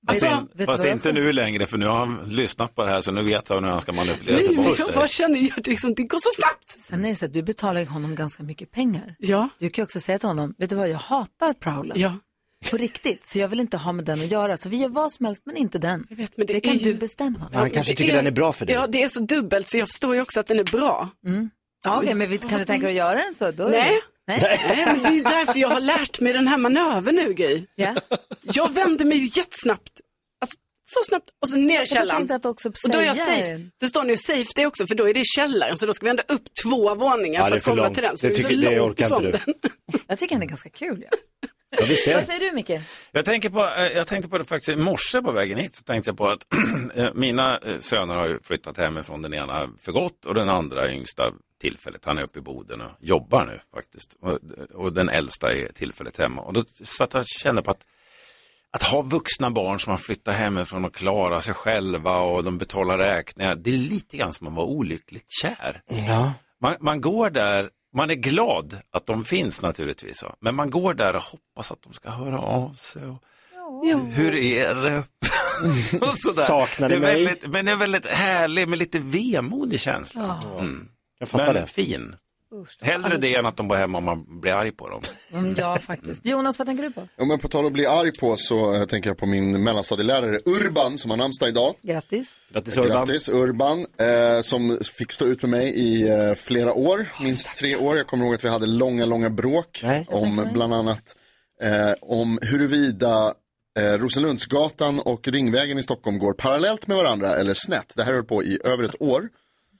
Alltså, Fast, Vet- in, vet du fast vad jag inte sa? nu längre, för nu har han lyssnat på det här, så nu vet han hur han ska manipulera Nej, men tillbaka jag bara det. känner ju att liksom, det går så snabbt. Sen är det så att du betalar ju honom ganska mycket pengar. Ja. Du kan ju också säga till honom, vet du vad, jag hatar prowlen. Ja. På riktigt, så jag vill inte ha med den att göra. Så vi gör vad som helst men inte den. Jag vet, men det kan du bestämma. Ja, han kanske tycker den är bra för dig. Ja, det är så dubbelt för jag förstår ju också att den är bra. Mm. Ja, okej, men vi- kan du tänka dig att göra den så? Då är Nej. det- Nej. men det är ju därför jag har lärt mig den här manövern nu, Gry. Jag vänder mig jättesnabbt. Alltså, så snabbt och så ner i Jag källaren. tänkte att också Och då är jag säga- safe. Förstår ni hur safe det är också? För då är det i källaren. Så då ska vi ändå upp två våningar Ja, för det är att för komma långt. till den. Så det Det är så tycker- det långt orkar inte ifrån du. den. Jag tycker den är ganska kul. Ja. Ja, visst är Vad det. säger du, Micke? Jag, tänker på, eh, jag tänkte på det faktiskt i morse på vägen hit, så tänkte jag på att eh, mina eh, söner har ju flyttat hemifrån, den ena för gott och den andra yngsta tillfället. Han är uppe i Boden och jobbar nu faktiskt. Och, och den äldsta är tillfället hemma. Och då satt jag och kände på att att ha vuxna barn som har flyttat hemifrån och klarar sig själva och de betalar räkningar, det är lite grann som att vara olyckligt kär. Ja. Man, man går där, man är glad att de finns naturligtvis, va? men man går där och hoppas att de ska höra av sig. Och, Hur är det? och sådär. Saknar ni det är mig? väldigt, Men det är väldigt härlig, men lite vemodig känsla. Ja. Mm. Jag fattar men det. fin. Hellre det än att de bor hemma och man blir arg på dem. Mm, ja, faktiskt. Jonas, vad tänker du på? Ja, men på tal om att bli arg på så eh, tänker jag på min mellanstadielärare Urban som har namnsdag idag. Grattis. Grattis Grattis Urban, eh, som fick stå ut med mig i eh, flera år, minst tre år. Jag kommer ihåg att vi hade långa, långa bråk om bland annat eh, om huruvida eh, Rosenlundsgatan och Ringvägen i Stockholm går parallellt med varandra eller snett. Det här höll på i över ett år.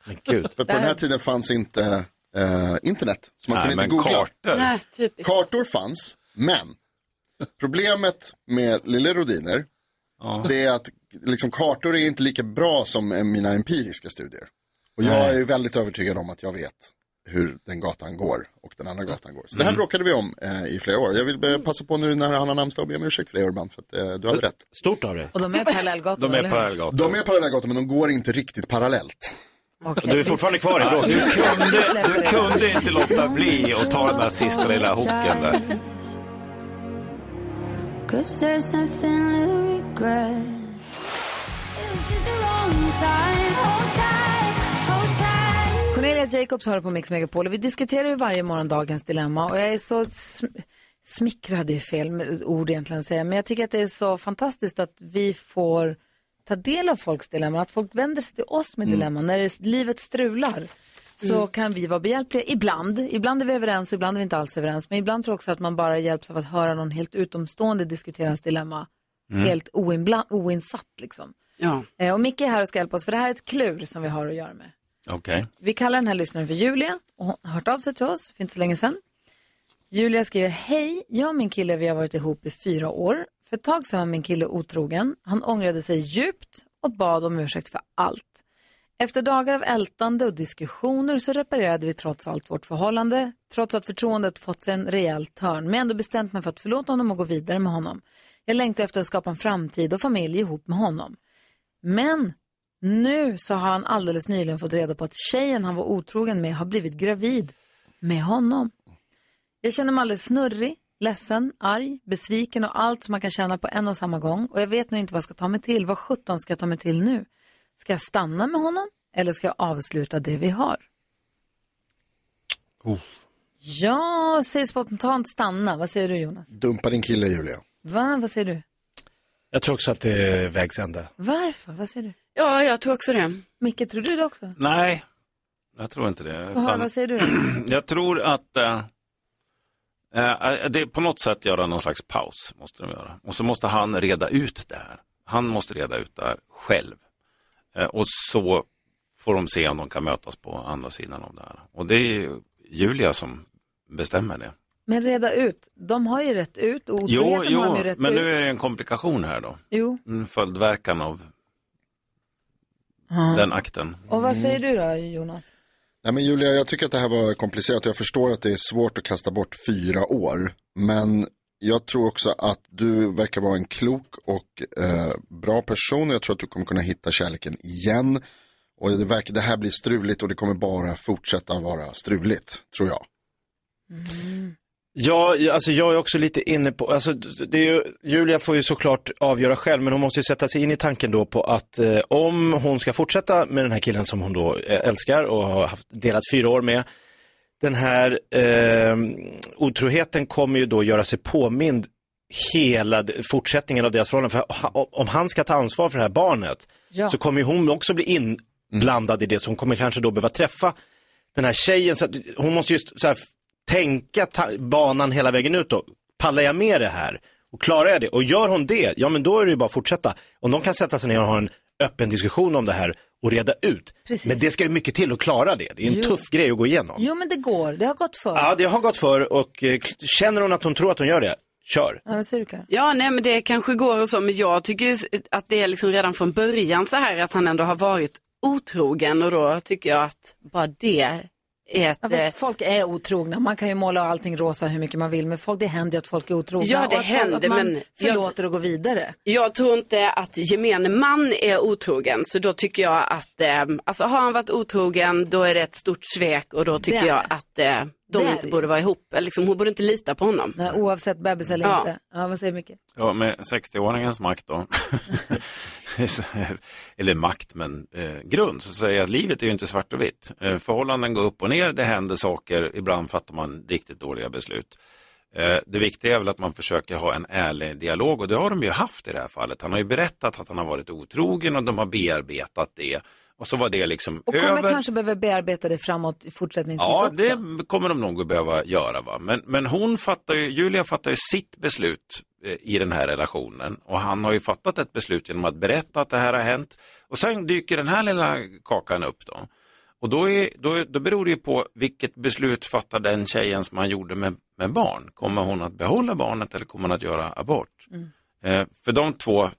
Men gud. För på den här tiden fanns inte eh, internet, så man Nej, kunde inte men googla. kartor. Nej, typ. typiskt. Kartor fanns, men problemet med Lille Rodiner det är att liksom, kartor är inte lika bra som eh, mina empiriska studier. Och jag Nej. är väldigt övertygad om att jag vet hur den gatan går och den andra gatan går. Så det här Mm. bråkade vi om eh, i flera år. Jag vill Mm. eh, passa på nu när han har namnsdag och be om ursäkt för det Urban, för att eh, du hade rätt. Stort av dig. Och de är parallellgator, eller hur? De är parallellgator men de går inte riktigt parallellt. Okej. Du är fortfarande kvar i bråk. Du kunde, du kunde inte låta bli att ta den där sista lilla hooken där. Cause there's nothing to regret. Cornelia Jacobs hör på Mix Megapol och vi diskuterar ju varje morgon dagens dilemma och jag är så sm- smickrad, det är fel med- ord egentligen att säga, men jag tycker att det är så fantastiskt att vi får ta del av folks dilemman, att folk vänder sig till oss med Mm. dilemman. När det, livet strular så Mm. kan vi vara behjälpliga ibland. Ibland är vi överens och ibland är vi inte alls överens, men ibland tror jag också att man bara hjälps av att höra någon helt utomstående diskutera ens dilemma Mm. helt oinbla- oinsatt liksom. Ja. Eh, och Micke är här och ska hjälpa oss, för det här är ett klur som vi har att göra med. Okej. Vi kallar den här lyssnaren för Julia och hon har hört av sig till oss för inte så länge sedan. Julia skriver, hej, jag och min kille vi har varit ihop i fyra år. För ett tag sedan var min kille otrogen. Han ångrade sig djupt och bad om ursäkt för allt. Efter dagar av ältande och diskussioner så reparerade vi trots allt vårt förhållande, trots att förtroendet fått sig en rejäl törn, men ändå bestämt mig för att förlåta honom och gå vidare med honom. Jag längtar efter att skapa en framtid och familj ihop med honom. Men nu så har han alldeles nyligen fått reda på att tjejen han var otrogen med har blivit gravid med honom. Jag känner mig alldeles snurrig, ledsen, arg, besviken och allt som man kan känna på en och samma gång. Och jag vet nu inte vad jag ska ta mig till. Vad sjutton ska jag ta mig till nu? Ska jag stanna med honom eller ska jag avsluta det vi har? Oh. Ja, säg spontant stanna. Vad säger du Jonas? Dumpa din kille Julia. Va? Vad säger du? Jag tror också att det är vägs ände. Varför? Vad säger du? Ja, jag tror också det. Micke, tror du det också? Nej, jag tror inte det. Vad, har- Utan- vad säger du då? Jag tror att eh, eh, det är på något sätt göra någon slags paus. måste de göra. Och så måste han reda ut det här. Han måste reda ut det här själv. Eh, och så får de se om de kan mötas på andra sidan av det här. Och det är ju Julia som bestämmer det. Men reda ut. De har ju rätt ut. och Otroheten har de ju rätt men ut. nu är det en komplikation här då. Jo. En följdverkan av Ja. den akten. Och Mm. vad säger du då Jonas? Nej, men Julia, jag tycker att det här var komplicerat och jag förstår att det är svårt att kasta bort fyra år. Men jag tror också att du verkar vara en klok och eh, bra person och jag tror att du kommer kunna hitta kärleken igen. Och det, verkar, det här blir struligt och det kommer bara fortsätta vara struligt, tror jag. Ja, jag- alltså jag är också lite inne på, alltså det är ju, Julia får ju såklart avgöra själv, men hon måste ju sätta sig in i tanken då på att eh, om hon ska fortsätta med den här killen som hon då eh, älskar och har haft, delat fyra år med, den här eh, otroheten kommer ju då göra sig påmind hela d- fortsättningen av deras förhållande. För ha- om han ska ta ansvar för det här barnet Ja. så kommer ju hon också bli inblandad i det, så hon kommer kanske då behöva träffa den här tjejen. Så att hon måste just så här, tänka ta- banan hela vägen ut då. Pallar jag med det här? Och klarar jag det? Och gör hon det, ja men då är det ju bara att fortsätta. Om de kan sätta sig ner och ha en öppen diskussion om det här och reda ut. Precis. Men det ska ju mycket till att klara det. Det är en Jo. tuff grej att gå igenom. Jo, men det går. Det har gått för. Ja, det har gått för och eh, k- känner hon att hon tror att hon gör det, kör. Ja, vad säger du, Karin? Ja, nej men det kanske går och så, men jag tycker ju att det är liksom redan från början så här att han ändå har varit otrogen och då tycker jag att bara det är ett... Ja, eh, fast folk är otrogna. Man kan ju måla allting rosa hur mycket man vill, men folk, det händer ju att folk är otrogna. Ja, det och att händer, folk, att man men jag- förlåter och går vidare. Jag tror inte att gemene man är otrogen, så då tycker jag att, eh, alltså har han varit otrogen, då är det ett stort svek och då tycker Det är jag det. att eh, de Det är inte det. borde vara ihop. Eller Liksom, hon borde inte lita på honom. Nej, oavsett bebis eller Ja. inte. Ja, vad säger Micke? Ja, med 60-åringens makt då. Eller makt, men eh, grund. Så säger jag att livet är ju inte svart och vitt. Eh, förhållanden går upp och ner, det händer saker. Ibland fattar man riktigt dåliga beslut. Eh, det viktiga är väl att man försöker ha en ärlig dialog och det har de ju haft i det här fallet. Han har ju berättat att han har varit otrogen och de har bearbetat det. Och så var det liksom Och kommer över. kanske behöva bearbeta det framåt i fortsättningsvis Ja, också. det kommer de nog att behöva göra. Va? Men, men hon fattar ju, Julia fattar ju sitt beslut eh, i den här relationen och han har ju fattat ett beslut genom att berätta att det här har hänt. Och sen dyker den här lilla kakan upp då. Och då, är, då, är- då beror det ju på vilket beslut fattar den tjejen som han gjorde med, med barn. Kommer hon att behålla barnet eller kommer hon att göra abort? Eh, för de två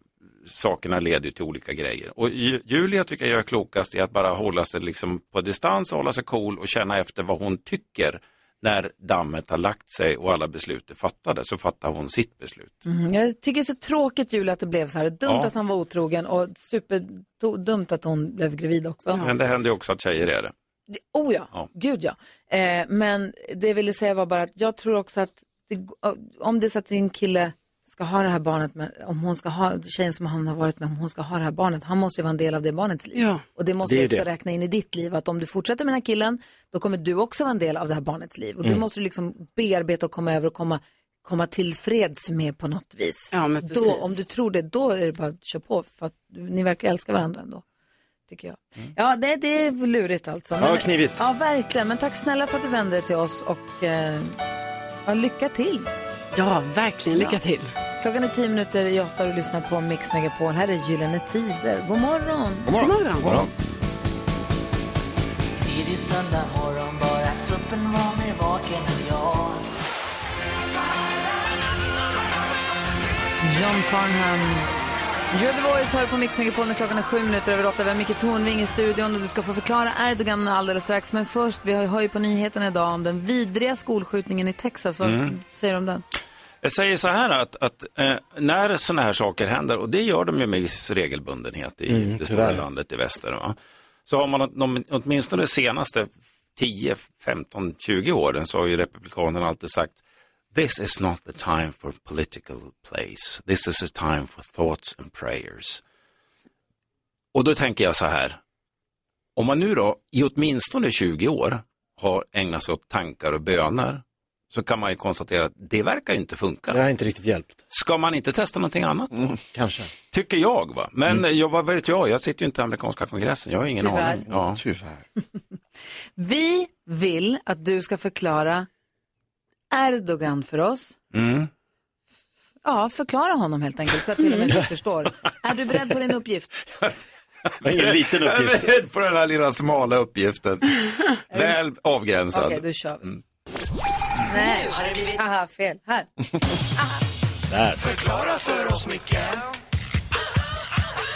sakerna leder ju till olika grejer. Och Ju- Julia tycker jag är klokast i att bara hålla sig liksom på distans, hålla sig cool och känna efter vad hon tycker när dammet har lagt sig och alla beslut är fattade, så fattar hon sitt beslut. Mm, jag tycker det är så tråkigt Julia att det blev så här. Dumt Ja. att han var otrogen och superdumt att hon blev gravid också. Men det händer ju också att tjejer är det. Det- Oh ja, Ja. gud ja. Eh, men det jag ville säga var bara att jag tror också att det, om det är så att din kille ska ha det här barnet, med, om hon ska ha, tjejen som han har varit med, om hon ska ha det här barnet, han måste ju vara en del av det barnets liv. Ja. Och det måste Det är du ju också det. räkna in i ditt liv, att om du fortsätter med den här killen, då kommer du också vara en del av det här barnets liv. Och Mm. du måste du liksom bearbeta och komma över och komma, komma till freds med på något vis. Ja, men precis. då, om du tror det, då är det bara att köra på, för att ni verkar älska varandra ändå tycker jag. Mm. Ja, det, det är lurigt alltså. Ja, Men- knivigt. Ja, verkligen. Men tack snälla för att du vände dig till oss och eh, ja, lycka till. Ja, verkligen lycka till. Klockan är tio minuter i åtta och du lyssnar på Mix Megapol. Här är Gyllene Tider. God morgon. God morgon. Tidig söndag morgon, bara tuppen var mer vaken än jag John Farnham. You're the voice hör på Mix Megapol när klockan är sju minuter över åtta. Vi har Micke Tornving i studion och du ska få förklara Erdogan alldeles strax. Men först, vi har ju- hör ju på nyheterna idag om den vidriga skolskjutningen i Texas. Vad Mm. säger du om den? Jag säger så här att, att eh, när sådana här saker händer, och det gör de ju med viss regelbundenhet i Mm, det tyvärr. stora landet i väster, va? så har man åt- de- åtminstone de senaste 10, 15, 20 åren så har ju republikanerna alltid sagt This is not the time for political plays. This is a time for thoughts and prayers. Och då tänker jag så här, om man nu då i åtminstone 20 år har ägnat sig åt tankar och böner så kan man ju konstatera att det verkar ju inte funka. Det har inte riktigt hjälpt. Ska man inte testa någonting annat? kanske. Tycker jag va. Men Mm. jag, vad vet jag, jag sitter ju inte i amerikanska kongressen, jag har ingen Tyvärr. aning. Ja. Tyvärr. Vi vill att du ska förklara Erdogan för oss. Mm. Ja, förklara honom helt enkelt så att till och med vi förstår. Är du beredd på din uppgift? Ingen liten uppgift. Jag är beredd på den här lilla smala uppgiften. Väl avgränsad. Okej, då kör vi. Mm. Nej, har det blivit... Aha, fel. Här. Där. Förklara för oss, Micke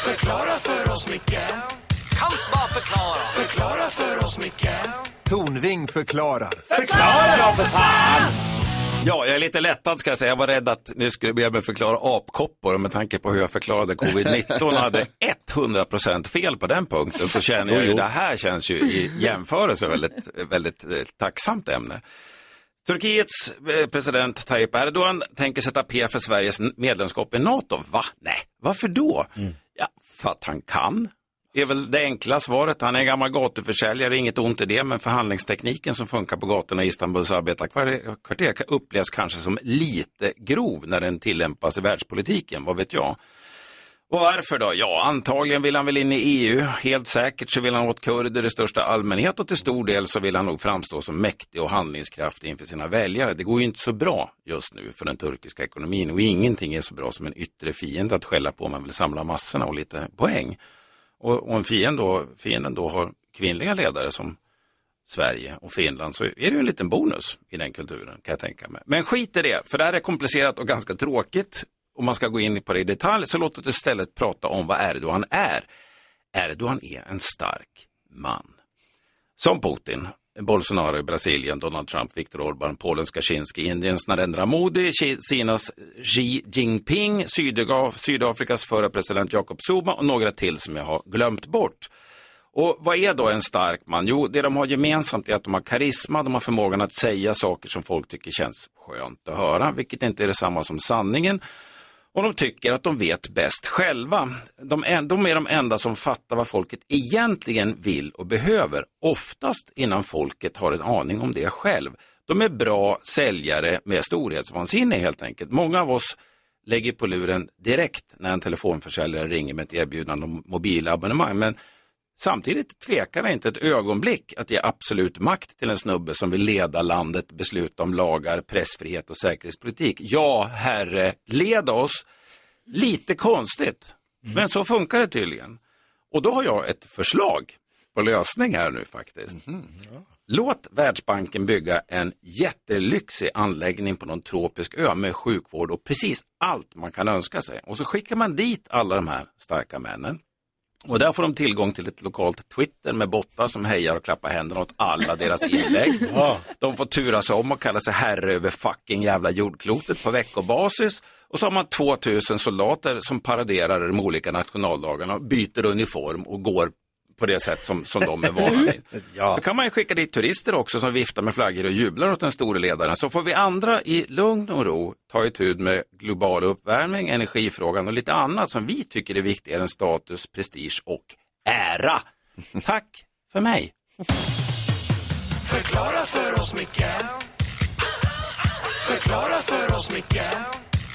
Förklara för oss, Micke Kan bara förklara Förklara för oss, Micke Tornving förklarar. Förklara då, för fan! Ja, jag är lite lättad ska jag säga. Jag var rädd att nu skulle jag behöva förklara apkoppor och med tanke på hur jag förklarade covid-19 och hade 100% fel på den punkten så känner jag Jo, ju jo. det här känns ju i jämförelse väldigt, väldigt eh, tacksamt ämne. Turkiets eh, president Tayyip Erdogan tänker sätta P för Sveriges n- medlemskap i NATO. Va? Nej, varför då? Ja, för att han kan. Det är väl det enkla svaret. Han är en gammal gatuförsäljare, inget ont i det, men förhandlingstekniken som funkar på gatorna i Istanbuls arbetarkvarter upplevs kanske som lite grov när den tillämpas i världspolitiken, vad vet jag. Och varför då? Ja, antagligen vill han väl in i EU. Helt säkert så vill han åt kurder i största allmänhet och till stor del så vill han nog framstå som mäktig och handlingskraftig inför sina väljare. Det går ju inte så bra just nu för den turkiska ekonomin och ingenting är så bra som en yttre fiende att skälla på om man vill samla massorna och lite poäng. Och, och om fienden då, fienden då har kvinnliga ledare som Sverige och Finland så är det ju en liten bonus i den kulturen kan jag tänka mig. Men skit i det, för det här är komplicerat och ganska tråkigt. Om man ska gå in på det i detalj så låt oss istället prata om vad Erdogan är. Erdogan är en stark man. Som Putin, Bolsonaro i Brasilien, Donald Trump, Viktor Orbán, Polens Kaczynski, Indiens Narendra Modi, Ki- Kinas Xi Jinping, Sydega- Sydafrikas förra president Jacob Zuma och några till som jag har glömt bort. Och vad är då en stark man? Jo, det de har gemensamt är att de har karisma, de har förmågan att säga saker som folk tycker känns skönt att höra, vilket inte är detsamma som sanningen. Och de tycker att de vet bäst själva. De, en- de är de enda som fattar vad folket egentligen vill och behöver, oftast innan folket har en aning om det själv. De är bra säljare med storhetsvansinne helt enkelt. Många av oss lägger på luren direkt när en telefonförsäljare ringer med ett erbjudande om mobilabonnemang. Men Samtidigt tvekar vi inte ett ögonblick att ge absolut makt till en snubbe som vill leda landet, besluta om lagar, pressfrihet och säkerhetspolitik. Ja, herre, leda oss. Lite konstigt, men så funkar det tydligen. Och då har jag ett förslag på lösning här nu faktiskt. Låt Världsbanken bygga en jättelyxig anläggning på någon tropisk ö med sjukvård och precis allt man kan önska sig. Och så skickar man dit alla de här starka männen. Och där får de tillgång till ett lokalt Twitter med bottar som hejar och klappar händerna åt alla deras inlägg. Ja. De får turas om och kalla sig herre över fucking jävla jordklotet på veckobasis. Och så har man 2000 soldater som paraderar de olika nationaldagarna, byter uniform och går på det sätt som, som de är vana vid. Så kan man ju skicka dit turister också som viftar med flaggor och jublar åt den store ledaren. Så får vi andra i lugn och ro ta itu med global uppvärmning, energifrågan och lite annat som vi tycker är viktigare än status, prestige och ära. Tack för mig. Förklara för oss, Micke. Förklara för oss, Micke.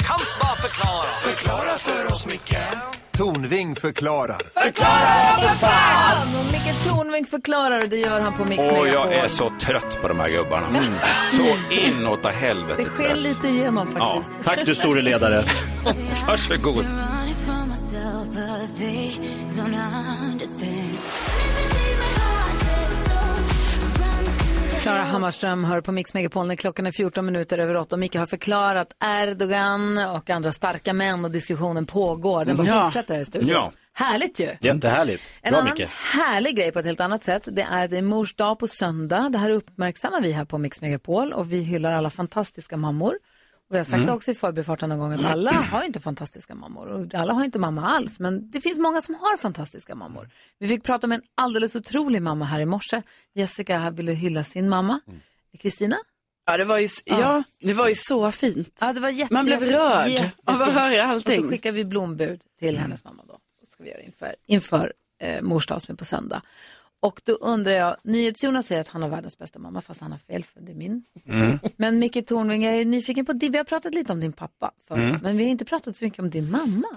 Kan bara förklara. Förklara för oss, Micke. Tornving förklarar. Förklara för fan! Och Micke Tornving förklarar och det gör han på Mix Åh, Megapol. Mm. jag är så trött på de här gubbarna. Mm. Så inåt helvete Det sker trött. lite igenom Ja. faktiskt. ledare. Varsågod. running from myself, but they don't understand. Klara Hammarström hör på Mix Megapol när klockan är 14 minuter över 8 och Micke har förklarat Erdogan och andra starka män och diskussionen pågår. Den bara Ja. fortsätter här i studion. Ja. Härligt ju. Jättehärligt. En Bra annan Micke. härlig grej på ett helt annat sätt, det är att det är mors dag på söndag. Det här uppmärksammar vi här på Mix Megapol och vi hyllar alla fantastiska mammor. Och jag har sagt Mm. det också i förbifarten någon gång att alla har ju inte fantastiska mammor och alla har inte mamma alls. Men det finns många som har fantastiska mammor. Vi fick prata med en alldeles otrolig mamma här i morse. Jessica ville hylla sin mamma. Kristina? Ja det, var ju, s- Ja. ja, det var ju så fint. Ja, det var jätte, Man blev jätte- rörd jättefint. av att höra Och så allting. skickar vi blombud till hennes mamma då. Och ska vi göra inför, inför eh, mors dag som är på söndag. Och då undrar jag, NyhetsJonas säger att han har världens bästa mamma, fast han har fel för det är min. Mm. Men Micke Tornving, jag är nyfiken på dig. Vi har pratat lite om din pappa förut, Mm. men vi har inte pratat så mycket om din mamma.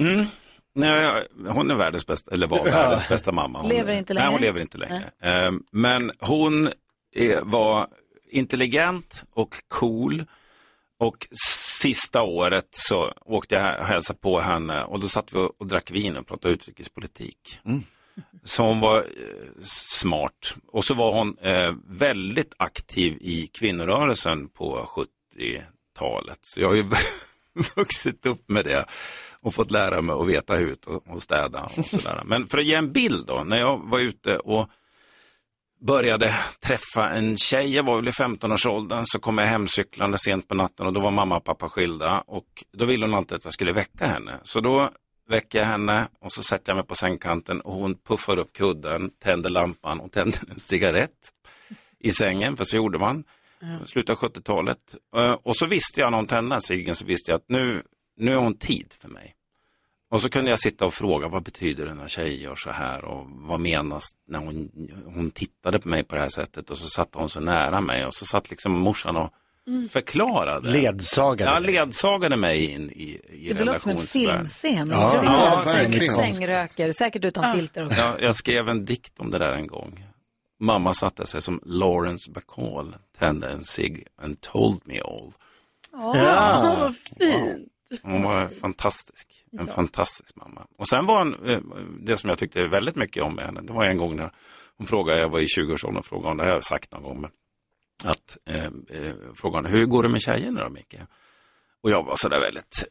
Mm. Nej, hon är världens bästa, eller var världens bästa mamma. Hon, Lever inte längre? Nej, hon lever inte längre. Ehm, Men hon eh, var intelligent och cool. Och sista året så åkte jag och hälsade på henne och då satt vi och och drack vin och pratade utrikespolitik. Så hon var eh, smart. Och så var hon eh, väldigt aktiv i kvinnorörelsen på 70-talet. Så jag har ju vuxit upp med det och fått lära mig att veta hut och, och städa och sådär. Men för att ge en bild då, när jag var ute och började träffa en tjej, jag var väl i 15-årsåldern, så kom jag hemcyklande sent på natten och då var mamma och pappa skilda och då ville hon alltid att jag skulle väcka henne. Så då väcker jag henne och så sätter jag mig på sängkanten och hon puffar upp kudden, tänder lampan och tänder en cigarett i sängen, för så gjorde man. slutet av 70-talet. Eh, Och så visste jag när hon tände den här ciggen så visste jag att nu, nu är hon tid för mig. Och så kunde jag sitta och fråga vad betyder det när tjejer gör så här och vad menas när hon, hon tittade på mig på det här sättet och så satt hon så nära mig och så satt liksom morsan och Mm. förklarade. Ledsagade. Ja, ledsagade mig in i, i Gud, det låter som en relationsvärlden. filmscen. Ja. Ja. Ja, Säng, verkligen. sängröker, säkert utan filter också. Jag, jag skrev en dikt om det där en gång. Mamma satte sig som Lawrence Bacall, tände en cigg and told me all. Åh, Ja. vad fint. Hon var fantastisk. En Ja. fantastisk mamma. Och sen var hon, eh, det som jag tyckte väldigt mycket om med henne, det var en gång när hon frågade, jag var i 20-årsåldern och frågade, om det här har jag sagt någon gång, men att eh, eh, frågan, hur går det med tjejerna då Micke? Och jag var sådär väldigt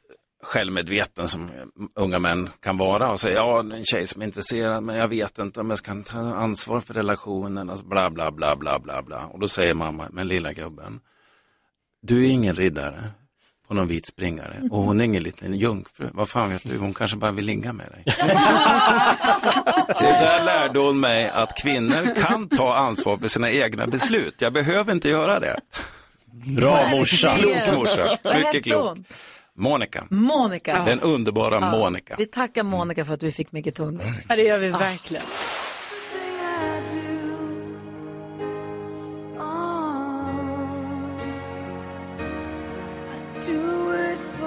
självmedveten som eh, unga män kan vara och säga, ja en tjej som är intresserad men jag vet inte om jag ska ta ansvar för relationen, alltså, bla bla bla bla bla bla. Och då säger mamma, men lilla gubben, du är ingen riddare på någon vit springare och hon är ingen liten jungfru. Vad fan vet du, hon kanske bara vill ligga med dig. Och där lärde hon mig att kvinnor kan ta ansvar för sina egna beslut. Jag behöver inte göra det. Bra morsa. Klok morsa. Vad hette Mycket klok. hon? Monica. Monica. Den underbara Ja. Monica. Vi tackar Monica för att vi fick Micke Tornving. Ja, det gör vi verkligen. Ah.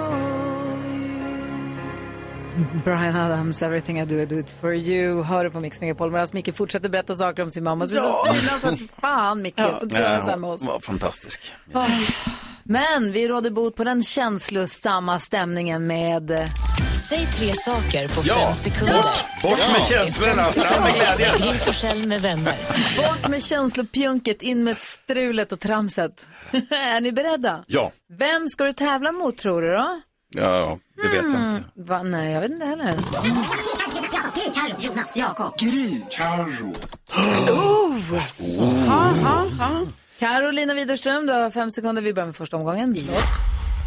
Brian Adams, Everything I Do I Do It For You. Hör du på Mix Megapol. Medan Micke fortsätter berätta saker om sin mamma. Så vi är så Ja. fina så att fan Micke, du får inte göra så här med oss. hon var fantastisk. Ah. Men vi råder bot på den känslosamma stämningen med... eh, Säg tre saker på Ja, fem sekunder. bort- bort med känslorna, fram med glädjen. Gry Forssell med vänner. Bort med känslopjunket, in med strulet och tramset. är ni beredda? Ja, Vem ska du tävla mot tror du då? ja det vet Mm. jag inte. Va? Nej, jag vet inte heller. Carro, Jonas, Jakob. Gry. Carro. Oh. Oh. Ha, ha, ha. Carolina Widerström, du har fem sekunder. Vi börjar med första omgången.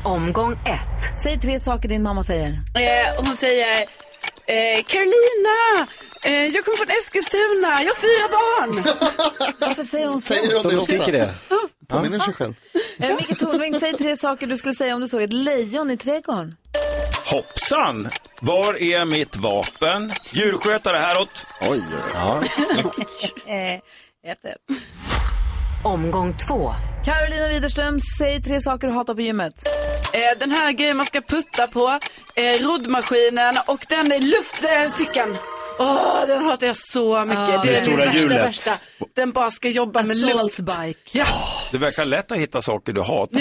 Omgång ett. Säg tre saker din mamma säger. Eh, hon säger, eh, Carolina, eh, jag kommer från Eskilstuna, jag har fyra barn. Varför säger hon så? Påminner sig själv. Eh, Micke Tornving, säg tre saker du skulle säga om du såg ett lejon i trädgården. Hoppsan! Var är mitt vapen? Djurskötare häråt. Oj, ja. eh, ett, ett. Omgång två. Carolina Widerström, säg tre saker du hatar på gymmet. Eh, den här grejen man ska putta på, eh, roddmaskinen och den är luftcykeln. Åh, den hatar jag så mycket. Ah. det Det är stora det värsta, hjulet. värsta. Den bara ska jobba med luft. Ja. Det verkar lätt att hitta saker du hatar.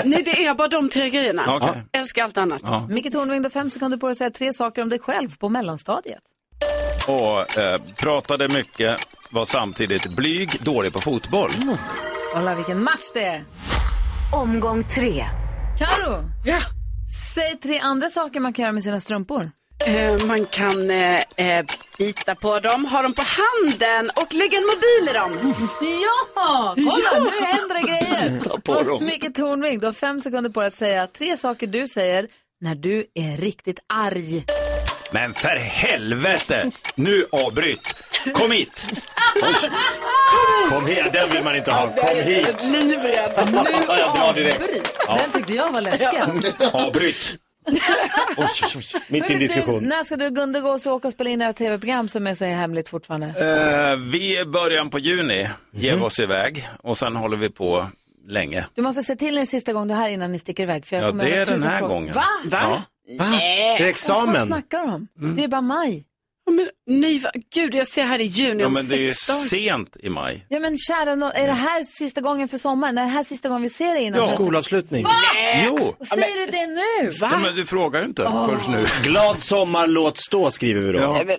De, nej, det är bara de tre grejerna. Okej. Älskar allt annat. Ja. Micke Tornving, du har fem sekunder på dig att säga tre saker om dig själv på mellanstadiet. Och eh, pratade mycket, var samtidigt blyg, dålig på fotboll. Kolla vilken match det är. Omgång tre. Karo. Ja. Säg tre andra saker man kan göra med sina strumpor. Eh, man kan eh, eh, bita på dem, ha dem på handen och lägga en mobil i dem. Ja, kolla Ja. nu händer det grejer. Ta på Och dem. Micke Tornving, du har fem sekunder på dig att säga tre saker du säger när du är riktigt arg. Men för helvete! Nu avbryt! Kom hit! Kom hit, den vill man inte ha. Kom hit. Livrädd. Nu Ja, jag drar direkt. avbryt. Ja. Den tyckte jag var läskig. Avbryt. Oj, oj, oj. Mitt i en Hörru, Du, diskussion. när ska du Gunde gå och åka och spela in era tv-program som är så hemligt fortfarande? Eh, vi i början på juni ger Mm. oss iväg och sen håller vi på länge. Du måste se till när det är sista gången du är här innan ni sticker iväg. För jag Ja, kommer det att ha är den tusen här frågor. gången. Va? Va? Va? Nej. Det är examen. Vad fan snackar du om? Det är bara maj. Mm. Men, nej, va- gud, jag ser här i juni Ja, om men det är ju sex dagar. sent i maj. Ja men kära nå- är det här sista gången för sommaren? Är det här sista gången vi ser dig innan? Ja. sommaren? Skolavslutning. Va? Jo. Och säger du det nu? Ja, men du frågar ju inte Åh. först nu. Glad sommar, låt stå skriver vi då. Nej.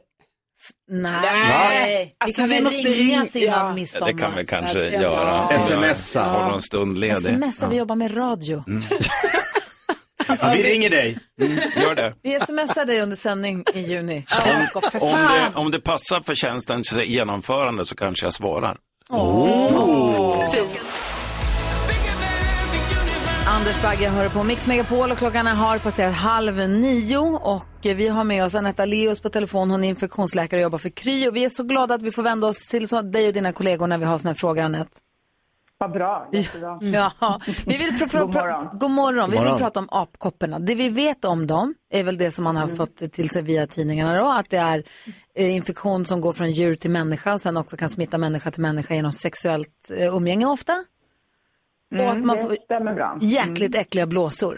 Nej. Vi Alltså, kan vi väl måste ringa ringa. innan Ja. midsommar? Det kan vi kanske Ja. göra. Smsa. Har någon stund ledig. Smsa, vi jobbar med radio. Mm. Ja, vi ringer dig. Mm, Gör det. Vi smsar dig under sändning i juni. Jakob, för Om fan. det, om det passar för tjänstens genomförande så kanske jag svarar. Oh. Anders Bagge hör på Mix Megapol och klockan har passerat halv nio och vi har med oss Anetta Leos på telefon. Hon är infektionsläkare och jobbar för Kry och vi är så glada att vi får vända oss till så- dig och dina kollegor när vi har såna här frågor, Anette. Vad bra, jättebra. Ja, vi vill pra- pra- God morgon. God morgon. Vi God vill morgon. prata om apkopporna. Det vi vet om dem är väl det som man har Mm. fått till sig via tidningarna då, att det är eh, infektion som går från djur till människa och sen också kan smitta människa till människa genom sexuellt eh, umgänge ofta. Mm, och att man det Mm. får stämmer bra. jäkligt äckliga blåsor.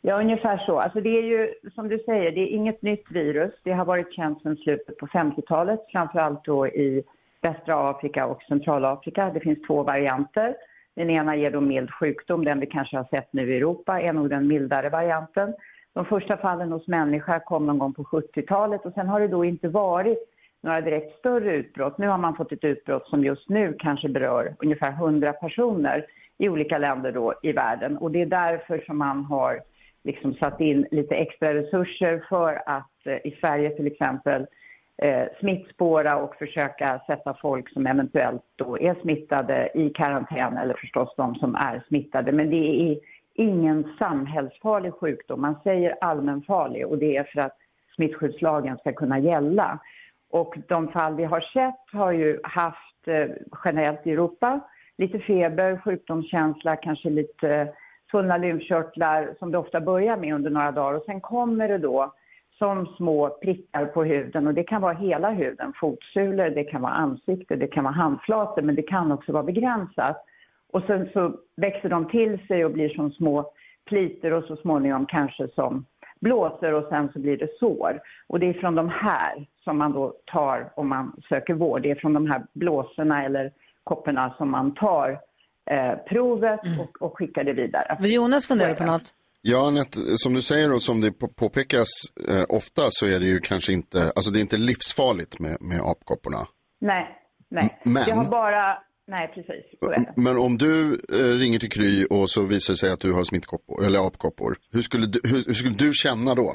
Ja, ungefär så. Alltså det är ju, som du säger, det är inget nytt virus. Det har varit känt sedan slutet på 50-talet, framförallt då i västra Afrika och centralafrika. Det finns två varianter. Den ena ger då mild sjukdom, den vi kanske har sett nu i Europa, är nog den mildare varianten. De första fallen hos människa kom någon gång på 70-talet och sen har det då inte varit några direkt större utbrott. Nu har man fått ett utbrott som just nu kanske berör ungefär 100 personer i olika länder då i världen och det är därför som man har liksom satt in lite extra resurser för att eh, i Sverige till exempel eh, smittspåra och försöka sätta folk som eventuellt då är smittade i karantän eller förstås de som är smittade. Men det är ingen samhällsfarlig sjukdom. Man säger allmänfarlig och det är för att smittskyddslagen ska kunna gälla. Och de fall vi har sett har ju haft eh, generellt i Europa lite feber, sjukdomskänsla, kanske lite eh, tunna lymfkörtlar som det ofta börjar med under några dagar och sen kommer det då som små prickar på huden och det kan vara hela huden, fotsulor, det kan vara ansikte, det kan vara handflator men det kan också vara begränsat. Och sen så växer de till sig och blir som små pliter och så småningom kanske som blåser och sen så blir det sår. Och det är från de här som man då tar om man söker vård. Det är från de här blåsorna eller kopporna som man tar eh, provet och, och skickar det vidare. Mm. Alltså, Jonas funderar på något. Ja, Anette, som du säger och som det på- påpekas eh, ofta så är det ju kanske inte, alltså det är inte livsfarligt med, med apkopporna. Nej, nej. Men- Jag har bara... Nej, precis. Så är det. Men om du eh, ringer till Kry och så visar det sig att du har smittkoppor, eller apkoppor, hur skulle du, hur, hur skulle du känna då?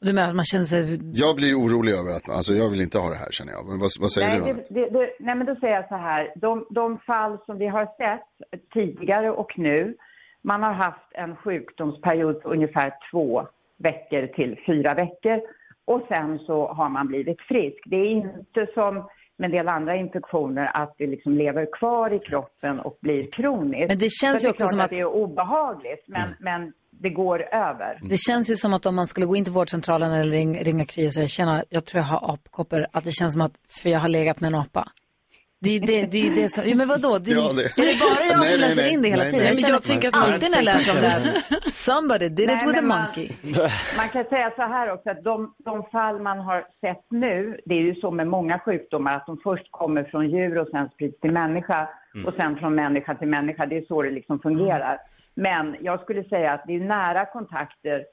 Du menar att man känner sig... Jag blir ju orolig över att, alltså jag vill inte ha det här känner jag. Men vad, vad säger nej, du? Anette? det, det, det, nej, men då säger jag så här. De, de fall som vi har sett tidigare och nu, man har haft en sjukdomsperiod på ungefär två veckor till fyra veckor och sen så har man blivit frisk. Det är inte som med en del andra infektioner att det liksom lever kvar i kroppen och blir kroniskt. Men det känns Så ju också klart som att- det är obehagligt, men, men det går över. Mm. Det känns ju som att om man skulle gå in till vårdcentralen eller ring, ringa Kry och säga tjena, jag tror jag har apkoppor, att det känns som att, för jag har legat med en apa. Det är ju det, det, är ju det som, jo men vadå, det, Ja, det- Är det bara jag Nej, som nej, läser nej. in det hela Nej, tiden? nej. Jag Men jag känner tänker att man- alltid när jag läser om det här, somebody did Nej, it with a men man- monkey. Man kan säga så här också att de, de fall man har sett nu, det är ju så med många sjukdomar att de först kommer från djur och sen sprids till människa Mm. och sen från människa till människa. Det är så det liksom fungerar. Men jag skulle säga att det är nära kontakter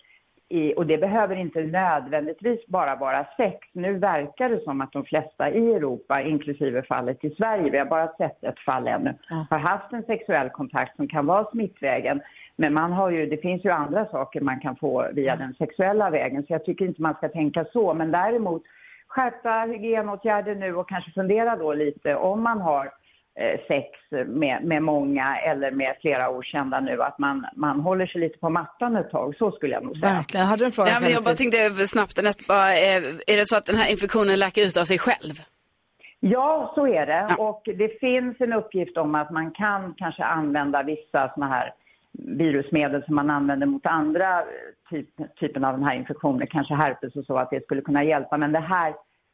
i, och det behöver inte nödvändigtvis bara vara sex. Nu verkar det som att de flesta i Europa, inklusive fallet i Sverige, vi har bara sett ett fall ännu, har haft en sexuell kontakt som kan vara smittvägen. Men man har ju, det finns ju andra saker man kan få via den sexuella vägen, så jag tycker inte man ska tänka så. Men däremot skärpta hygienåtgärder nu och kanske fundera då lite om man har eh, sex med, med många eller med flera okända nu, att man, man håller sig lite på mattan ett tag. Så skulle jag nog säga. Verkligen. Hade du en fråga? Nej, men jag Kelsey? bara tänkte snabbt, Anette, bara, eh, är det så att den här infektionen läker ut av sig själv? Ja, så är det. Och det finns en uppgift om att man kan kanske använda vissa såna här virusmedel som man använder mot andra eh, typ, typen av den här infektioner, kanske herpes och så, att det skulle kunna hjälpa. Men det här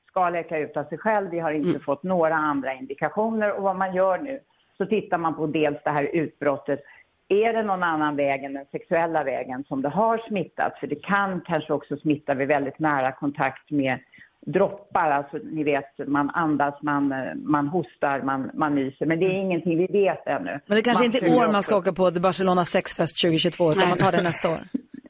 ska läka ut av sig själv. Vi har inte Mm. fått några andra indikationer och vad man gör nu så tittar man på dels det här utbrottet. Är det någon annan väg än den sexuella vägen som det har smittat? För det kan kanske också smitta vid väldigt nära kontakt med droppar, alltså ni vet man andas, man, eh, man hostar, man, man nyser. Men det är ingenting vi vet ännu. Mm. Men det kanske inte är i skyller år man också- ska åka på The Barcelona sexfest 2022, utan man tar det nästa år.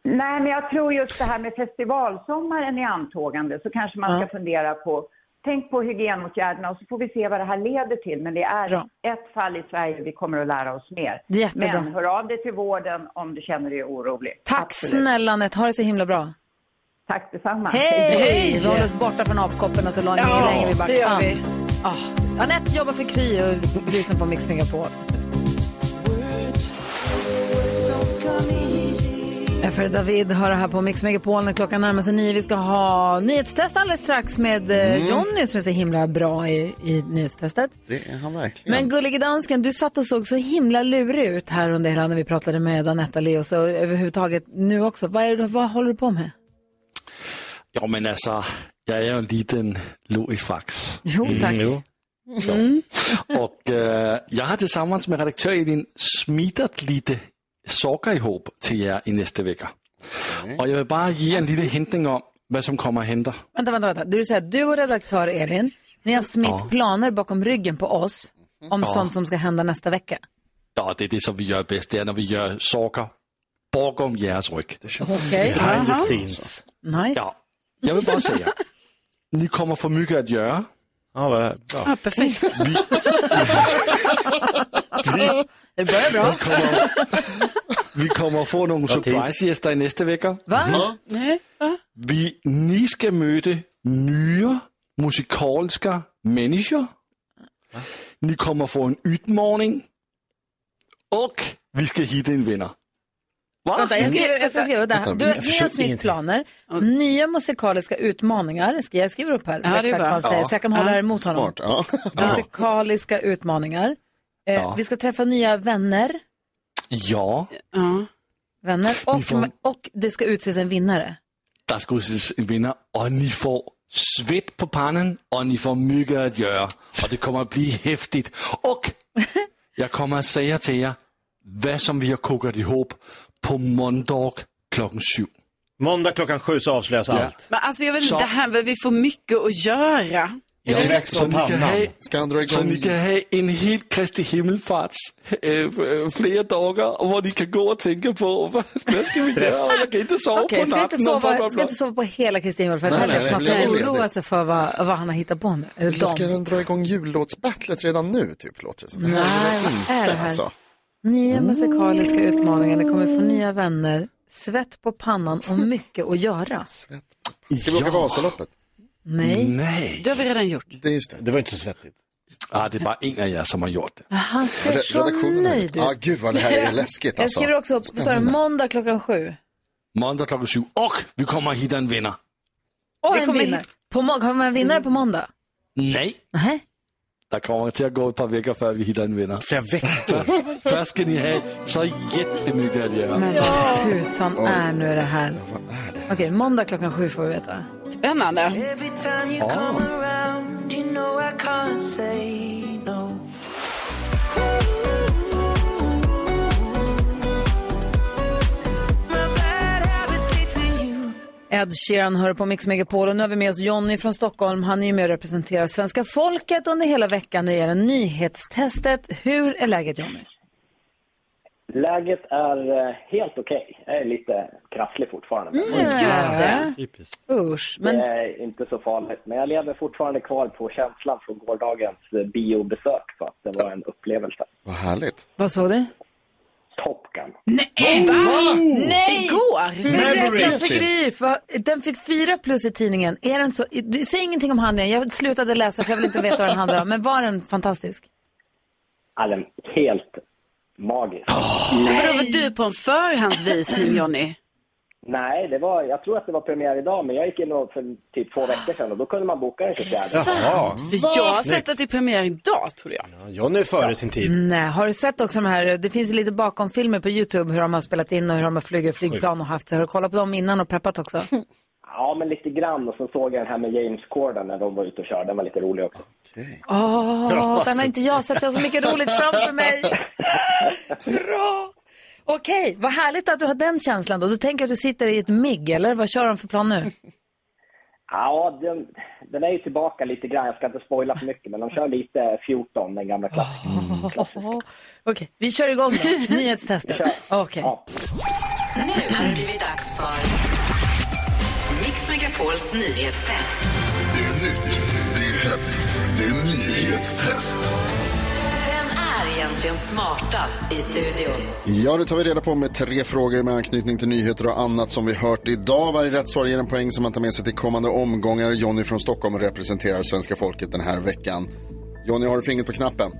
Nej, men jag tror just det här med festivalsommaren i antågande så kanske man ska fundera på, tänk på hygienåtgärderna och så får vi se vad det här leder till. Men det är ett fall i Sverige vi kommer att lära oss mer. Jättebra. Men hör av dig till vården om du känner dig orolig. Tack snälla Anette, ha det så himla bra. Tack detsamma. Hej! Hej! Vi håller oss borta från apkopporna så långt Ja, länge vi bara det gör kan. vi. Ah. Anette jobbar för Kry och lyssnar på Mix Megapol. F.R. David har det här på Mix Megapol när klockan närmar sig nio. Vi ska ha nyhetstest alldeles strax med eh, Mm. Jonny som är så himla bra i, i nyhetstestet. Det är han verkligen. Men gullige dansken, du satt och såg så himla lurig ut här under hela när vi pratade med Danetta Leo, så överhuvudtaget nu också. Vad, är det, vad håller du på med? Jo, men alltså, altså, jeg er jo en liten lurifax. Jo, tak. Mm. Och eh, jag har tillsammans med redaktör Elin smidat lite saker ihop till er i nästa vecka. Och jag vill bara ge en liten hintning om vad som kommer att hända. Vänta, vänta, vänta. Du säger att du och redaktör Elin, ni har smitt Ja. planer bakom ryggen på oss om Ja. sånt som ska hända nästa vecka. Ja, det är det som vi gör bäst, det är när vi gör saker bakom deras rygg. Okej. Behind the Aha. scenes. Nice. Ja, jag vill bara säga, ni kommer få mycket att göra. Ja, Ah, bra. Ja, perfekt. Det börjar bra. Vi kommer få några Notis. surprisegäster i nästa vecka. Va? Mhm. Nej, va? Vi, ni ska möta nya musikaliska människor. Ni kommer få en utmaning. Och vi ska hitta en vinnare. Vänta, jag skriver, jag ska skriva Vänta, där. Du, jag ni har förstår smitt ingenting. planer, nya musikaliska utmaningar, ska jag skriver upp här, Ja, det är exakt bra. vad han säger, Ja. så jag kan hålla Ja. det emot honom. Smart, ja. Musikaliska utmaningar. Eh, Ja. Vi ska träffa nya vänner, Ja, vänner och, Ni får- och det ska utses en vinnare. där ska utses en vinnare och ni får svett på pannan och ni får mycket att göra. Och det kommer att bli häftigt. Och jag kommer att säga till er vad som vi har kokat ihop på måndag klockan sju. Måndag klockan sju så avslöjas allt. Men alltså jag vet inte, Så- det här, men vi får mycket att göra. Ja, Svetts så, om ni kan pannan. ha, Ska han dra igång- så ni kan ha en helt Kristi himmelfarts äh, flera dagar och vad ni kan gå och tänka på. Vad vad ska vi göra? Stress. Jag kan inte sova Okej, på ska, inte natten. och bla, bla, sova, bla. ska inte sova på hela Kristi Himmelsfärd Nej, heller, nej, för man det ska blir oroa ledigt. sig för vad, vad han har hittat på nu. Eller Eller ska de. de dra igång jullåtsbattlet redan nu, typ, låter det som. Nej, vad är det här? Alltså, Nya musikaliska utmaningar, ni kommer få nya vänner, svett på pannan och mycket att göra. Ska vi åka Vasaloppet? Nej. Nej. Det har vi redan gjort. Det, är just det. det var inte så svettigt. Ah, det är bara en av er som har gjort det. Han ser Re- så redaktionen är- nöjd ut. Ja, gud vad det här är läskigt Jag alltså. skriver också upp, vad sa du, Spännande. måndag klockan sju. Måndag klockan sju och vi kommer att hitta en vinnare. Och Vi en kommer vinnare. På må- kommer en vinnare på måndag? Nej. Nej. Det kommer till att gå ett par veckor för vi hittar en vinnare. Flera veckor? Först, först ska ni ha så jättemycket att göra. Men vad tusan är nu det här? Okej, måndag klockan sju får vi veta. Spännande. Every time you Ah. come around, you know I can't say no. My bad habits lead to you. Ed Sheeran hör på Mix Megapol och nu har vi med oss Jonny från Stockholm. Han är ju med och representerar svenska folket under hela veckan när det gäller nyhetstestet. Hur är läget Jonny? Läget är eh, helt okej. Jag är lite krasslig fortfarande. Men Mm, Just det. Usch. Men Det är inte så farligt. Men jag lever fortfarande kvar på känslan från gårdagens eh, biobesök. Så att det var en upplevelse. Vad härligt. vad såg du? Top Gun. Oh, Nej! Va? Nej! Igår! Nu vet jag Memory. för Gryf. Va? Den fick fyra plus i tidningen. Är den så... du, säg ingenting om handlingen. Jag slutade läsa för jag vill inte veta vad den handlar om. Men var den fantastisk? Ja, den är Alltså, helt magisk. Vadå, var du på en förhandsvisning Johnny? Nej, det var, jag tror att det var premiär idag, men jag gick in och för typ två veckor sedan och då kunde man boka den 24. Sant, För jag har sett att det är premiär idag tror jag. Ja, Johnny är före sin tid. Nej, har du sett också de här, det finns ju lite bakomfilmer på YouTube hur de har spelat in och hur de har flugit flygplan och haft sig. Har du kollat på dem innan och peppat också? Ja, men lite grann. Och så såg jag den här med James Corden när de var ute och körde. Den var lite rolig också. Åh, Ja, den har så- inte jag sett. Jag har så mycket roligt framför mig. Bra! Okej, vad härligt att du har den känslan då. Du tänker att du sitter i ett MIG, eller vad kör de för plan nu? Ja, den, den är ju tillbaka lite grann. Jag ska inte spoila för mycket, men de kör lite 14, den gamla klassikern. Okej, vi kör igång då. Nyhetstestet. Okej. Nu har det blivit dags för Mix Megapols nyhetstest. Det är nytt, det är hett, det är nyhetstest. Vem är egentligen smartast i studion? Ja, det tar vi reda på med tre frågor med anknytning till nyheter och annat som vi hört idag. Varje rätt svar ger en poäng som man tar med sig till kommande omgångar. Jonny från Stockholm representerar svenska folket den här veckan. Jonny, har du fingret på knappen?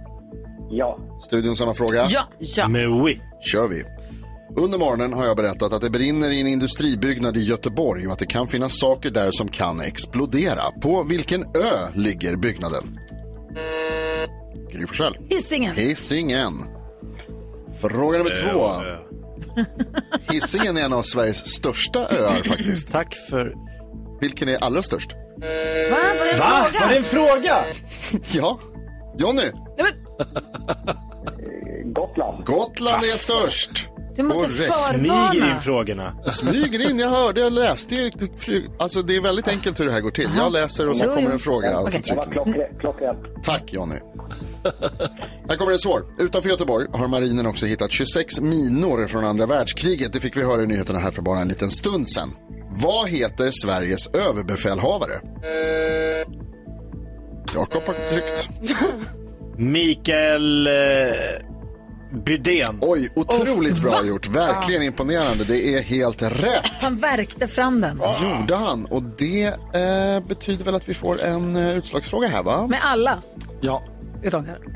Ja. Studion samma fråga? Ja. ja. Med oui. Kör vi. Under morgonen har jag berättat att det brinner i en industribyggnad i Göteborg och att det kan finnas saker där som kan explodera. På vilken ö ligger byggnaden? Gry Forssell. Hisingen. Hisingen. Fråga nummer Ö, två. Hisingen är en av Sveriges största öar faktiskt. Tack för... Vilken är allra störst? Va? Var det en fråga? Ja. Jonny? Gotland. Gotland är störst. Du måste Korrekt. förvarna. Smyger in frågorna. Smyger in. Jag hörde, jag läste. ju- Alltså det är väldigt enkelt hur det här går till. Jag läser och så Jo, kommer jo. en fråga. Alltså, Det var trycker- klockre- klockrent. Tack Jonny. Här kommer en svår. Utanför Göteborg har marinen också hittat 26 minor från andra världskriget. Det fick vi höra i nyheterna här för bara en liten stund sedan. Vad heter Sveriges överbefälhavare? Jakob har tryckt. Mikael eh, Bydén. Oj, otroligt bra gjort. Verkligen imponerande. Det är helt rätt. Han värkte fram den. Gjorde han. Och det eh, betyder väl att vi får en eh, utslagsfråga här va? Med alla, Ja. utom Karin.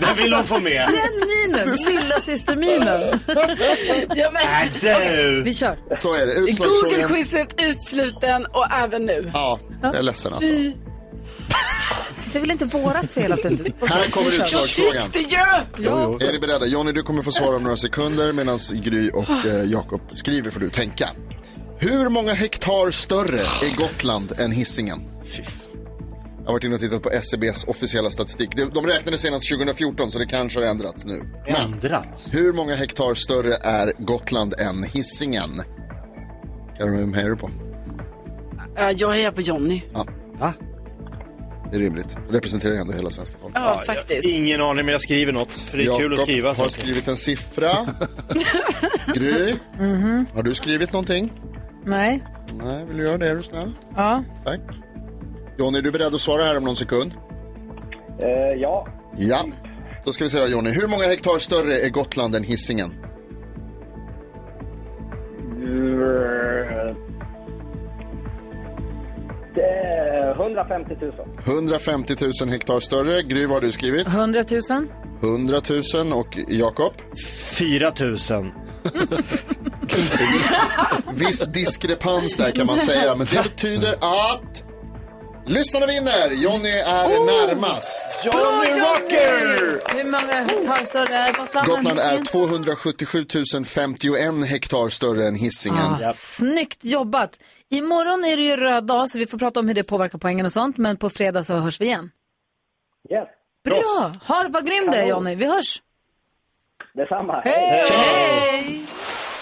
Den vill hon få med. Den minen, lilla systerminen. Ja, men, du. Vi kör. Så är det. Utslagsfrågan. Google-quizet utsluten och även nu. Ja, jag är ledsen alltså. Fy. Det är väl inte vårat fel att du inte... Här kommer utslagsfrågan. Jag tyckte ju! Är ni beredda? Jonny, du kommer få svara om några sekunder medan Gry Ah. och eh, Jakob skriver får du tänka. Hur många hektar större är Gotland än Hisingen? Jag har varit inne och tittat på SCBs officiella statistik. De- De räknade senast 2014 så det kanske har ändrats nu. Ändrats? Hur många hektar större är Gotland än Hisingen? Karin, vem hejar du på? Ja, Jag är på Johnny. Ja. Det är rimligt. Representerar ju ändå hela svenska folket. Ja, faktiskt. Ingen aning men jag skriver något. För det är kul att Jakob skriva. har skrivit en siffra. Gry, Mm-hmm. Mhm. har du skrivit någonting? Nej. Nej, vill du göra det? Är du snäll? Ja. Tack. Jonny, är du beredd att svara här om någon sekund? ja. Ja. Då ska vi se då, Jonny. Hur många hektar större är Gotland än Hisingen? Det är 150 000. 150 000 hektar större. Gry, vad har du skrivit? 100 000. 100 000 och Jakob? 4 000. Viss diskrepans där kan man säga, men det betyder att... Lyssnarna vinner! Jonny är närmast. Johnny Rocker! Hur många hektar större är Gotland? Gotland än är Hisingen? 277 051 hektar större än Hisingen. Ah, snyggt jobbat. Imorgon är det ju röd dag så vi får prata om hur det påverkar poängen och sånt. Men på fredag så hörs vi igen. Yes. Bra! Ha, vad grym du är Kanon. Johnny. Vi hörs. Detsamma. Hej!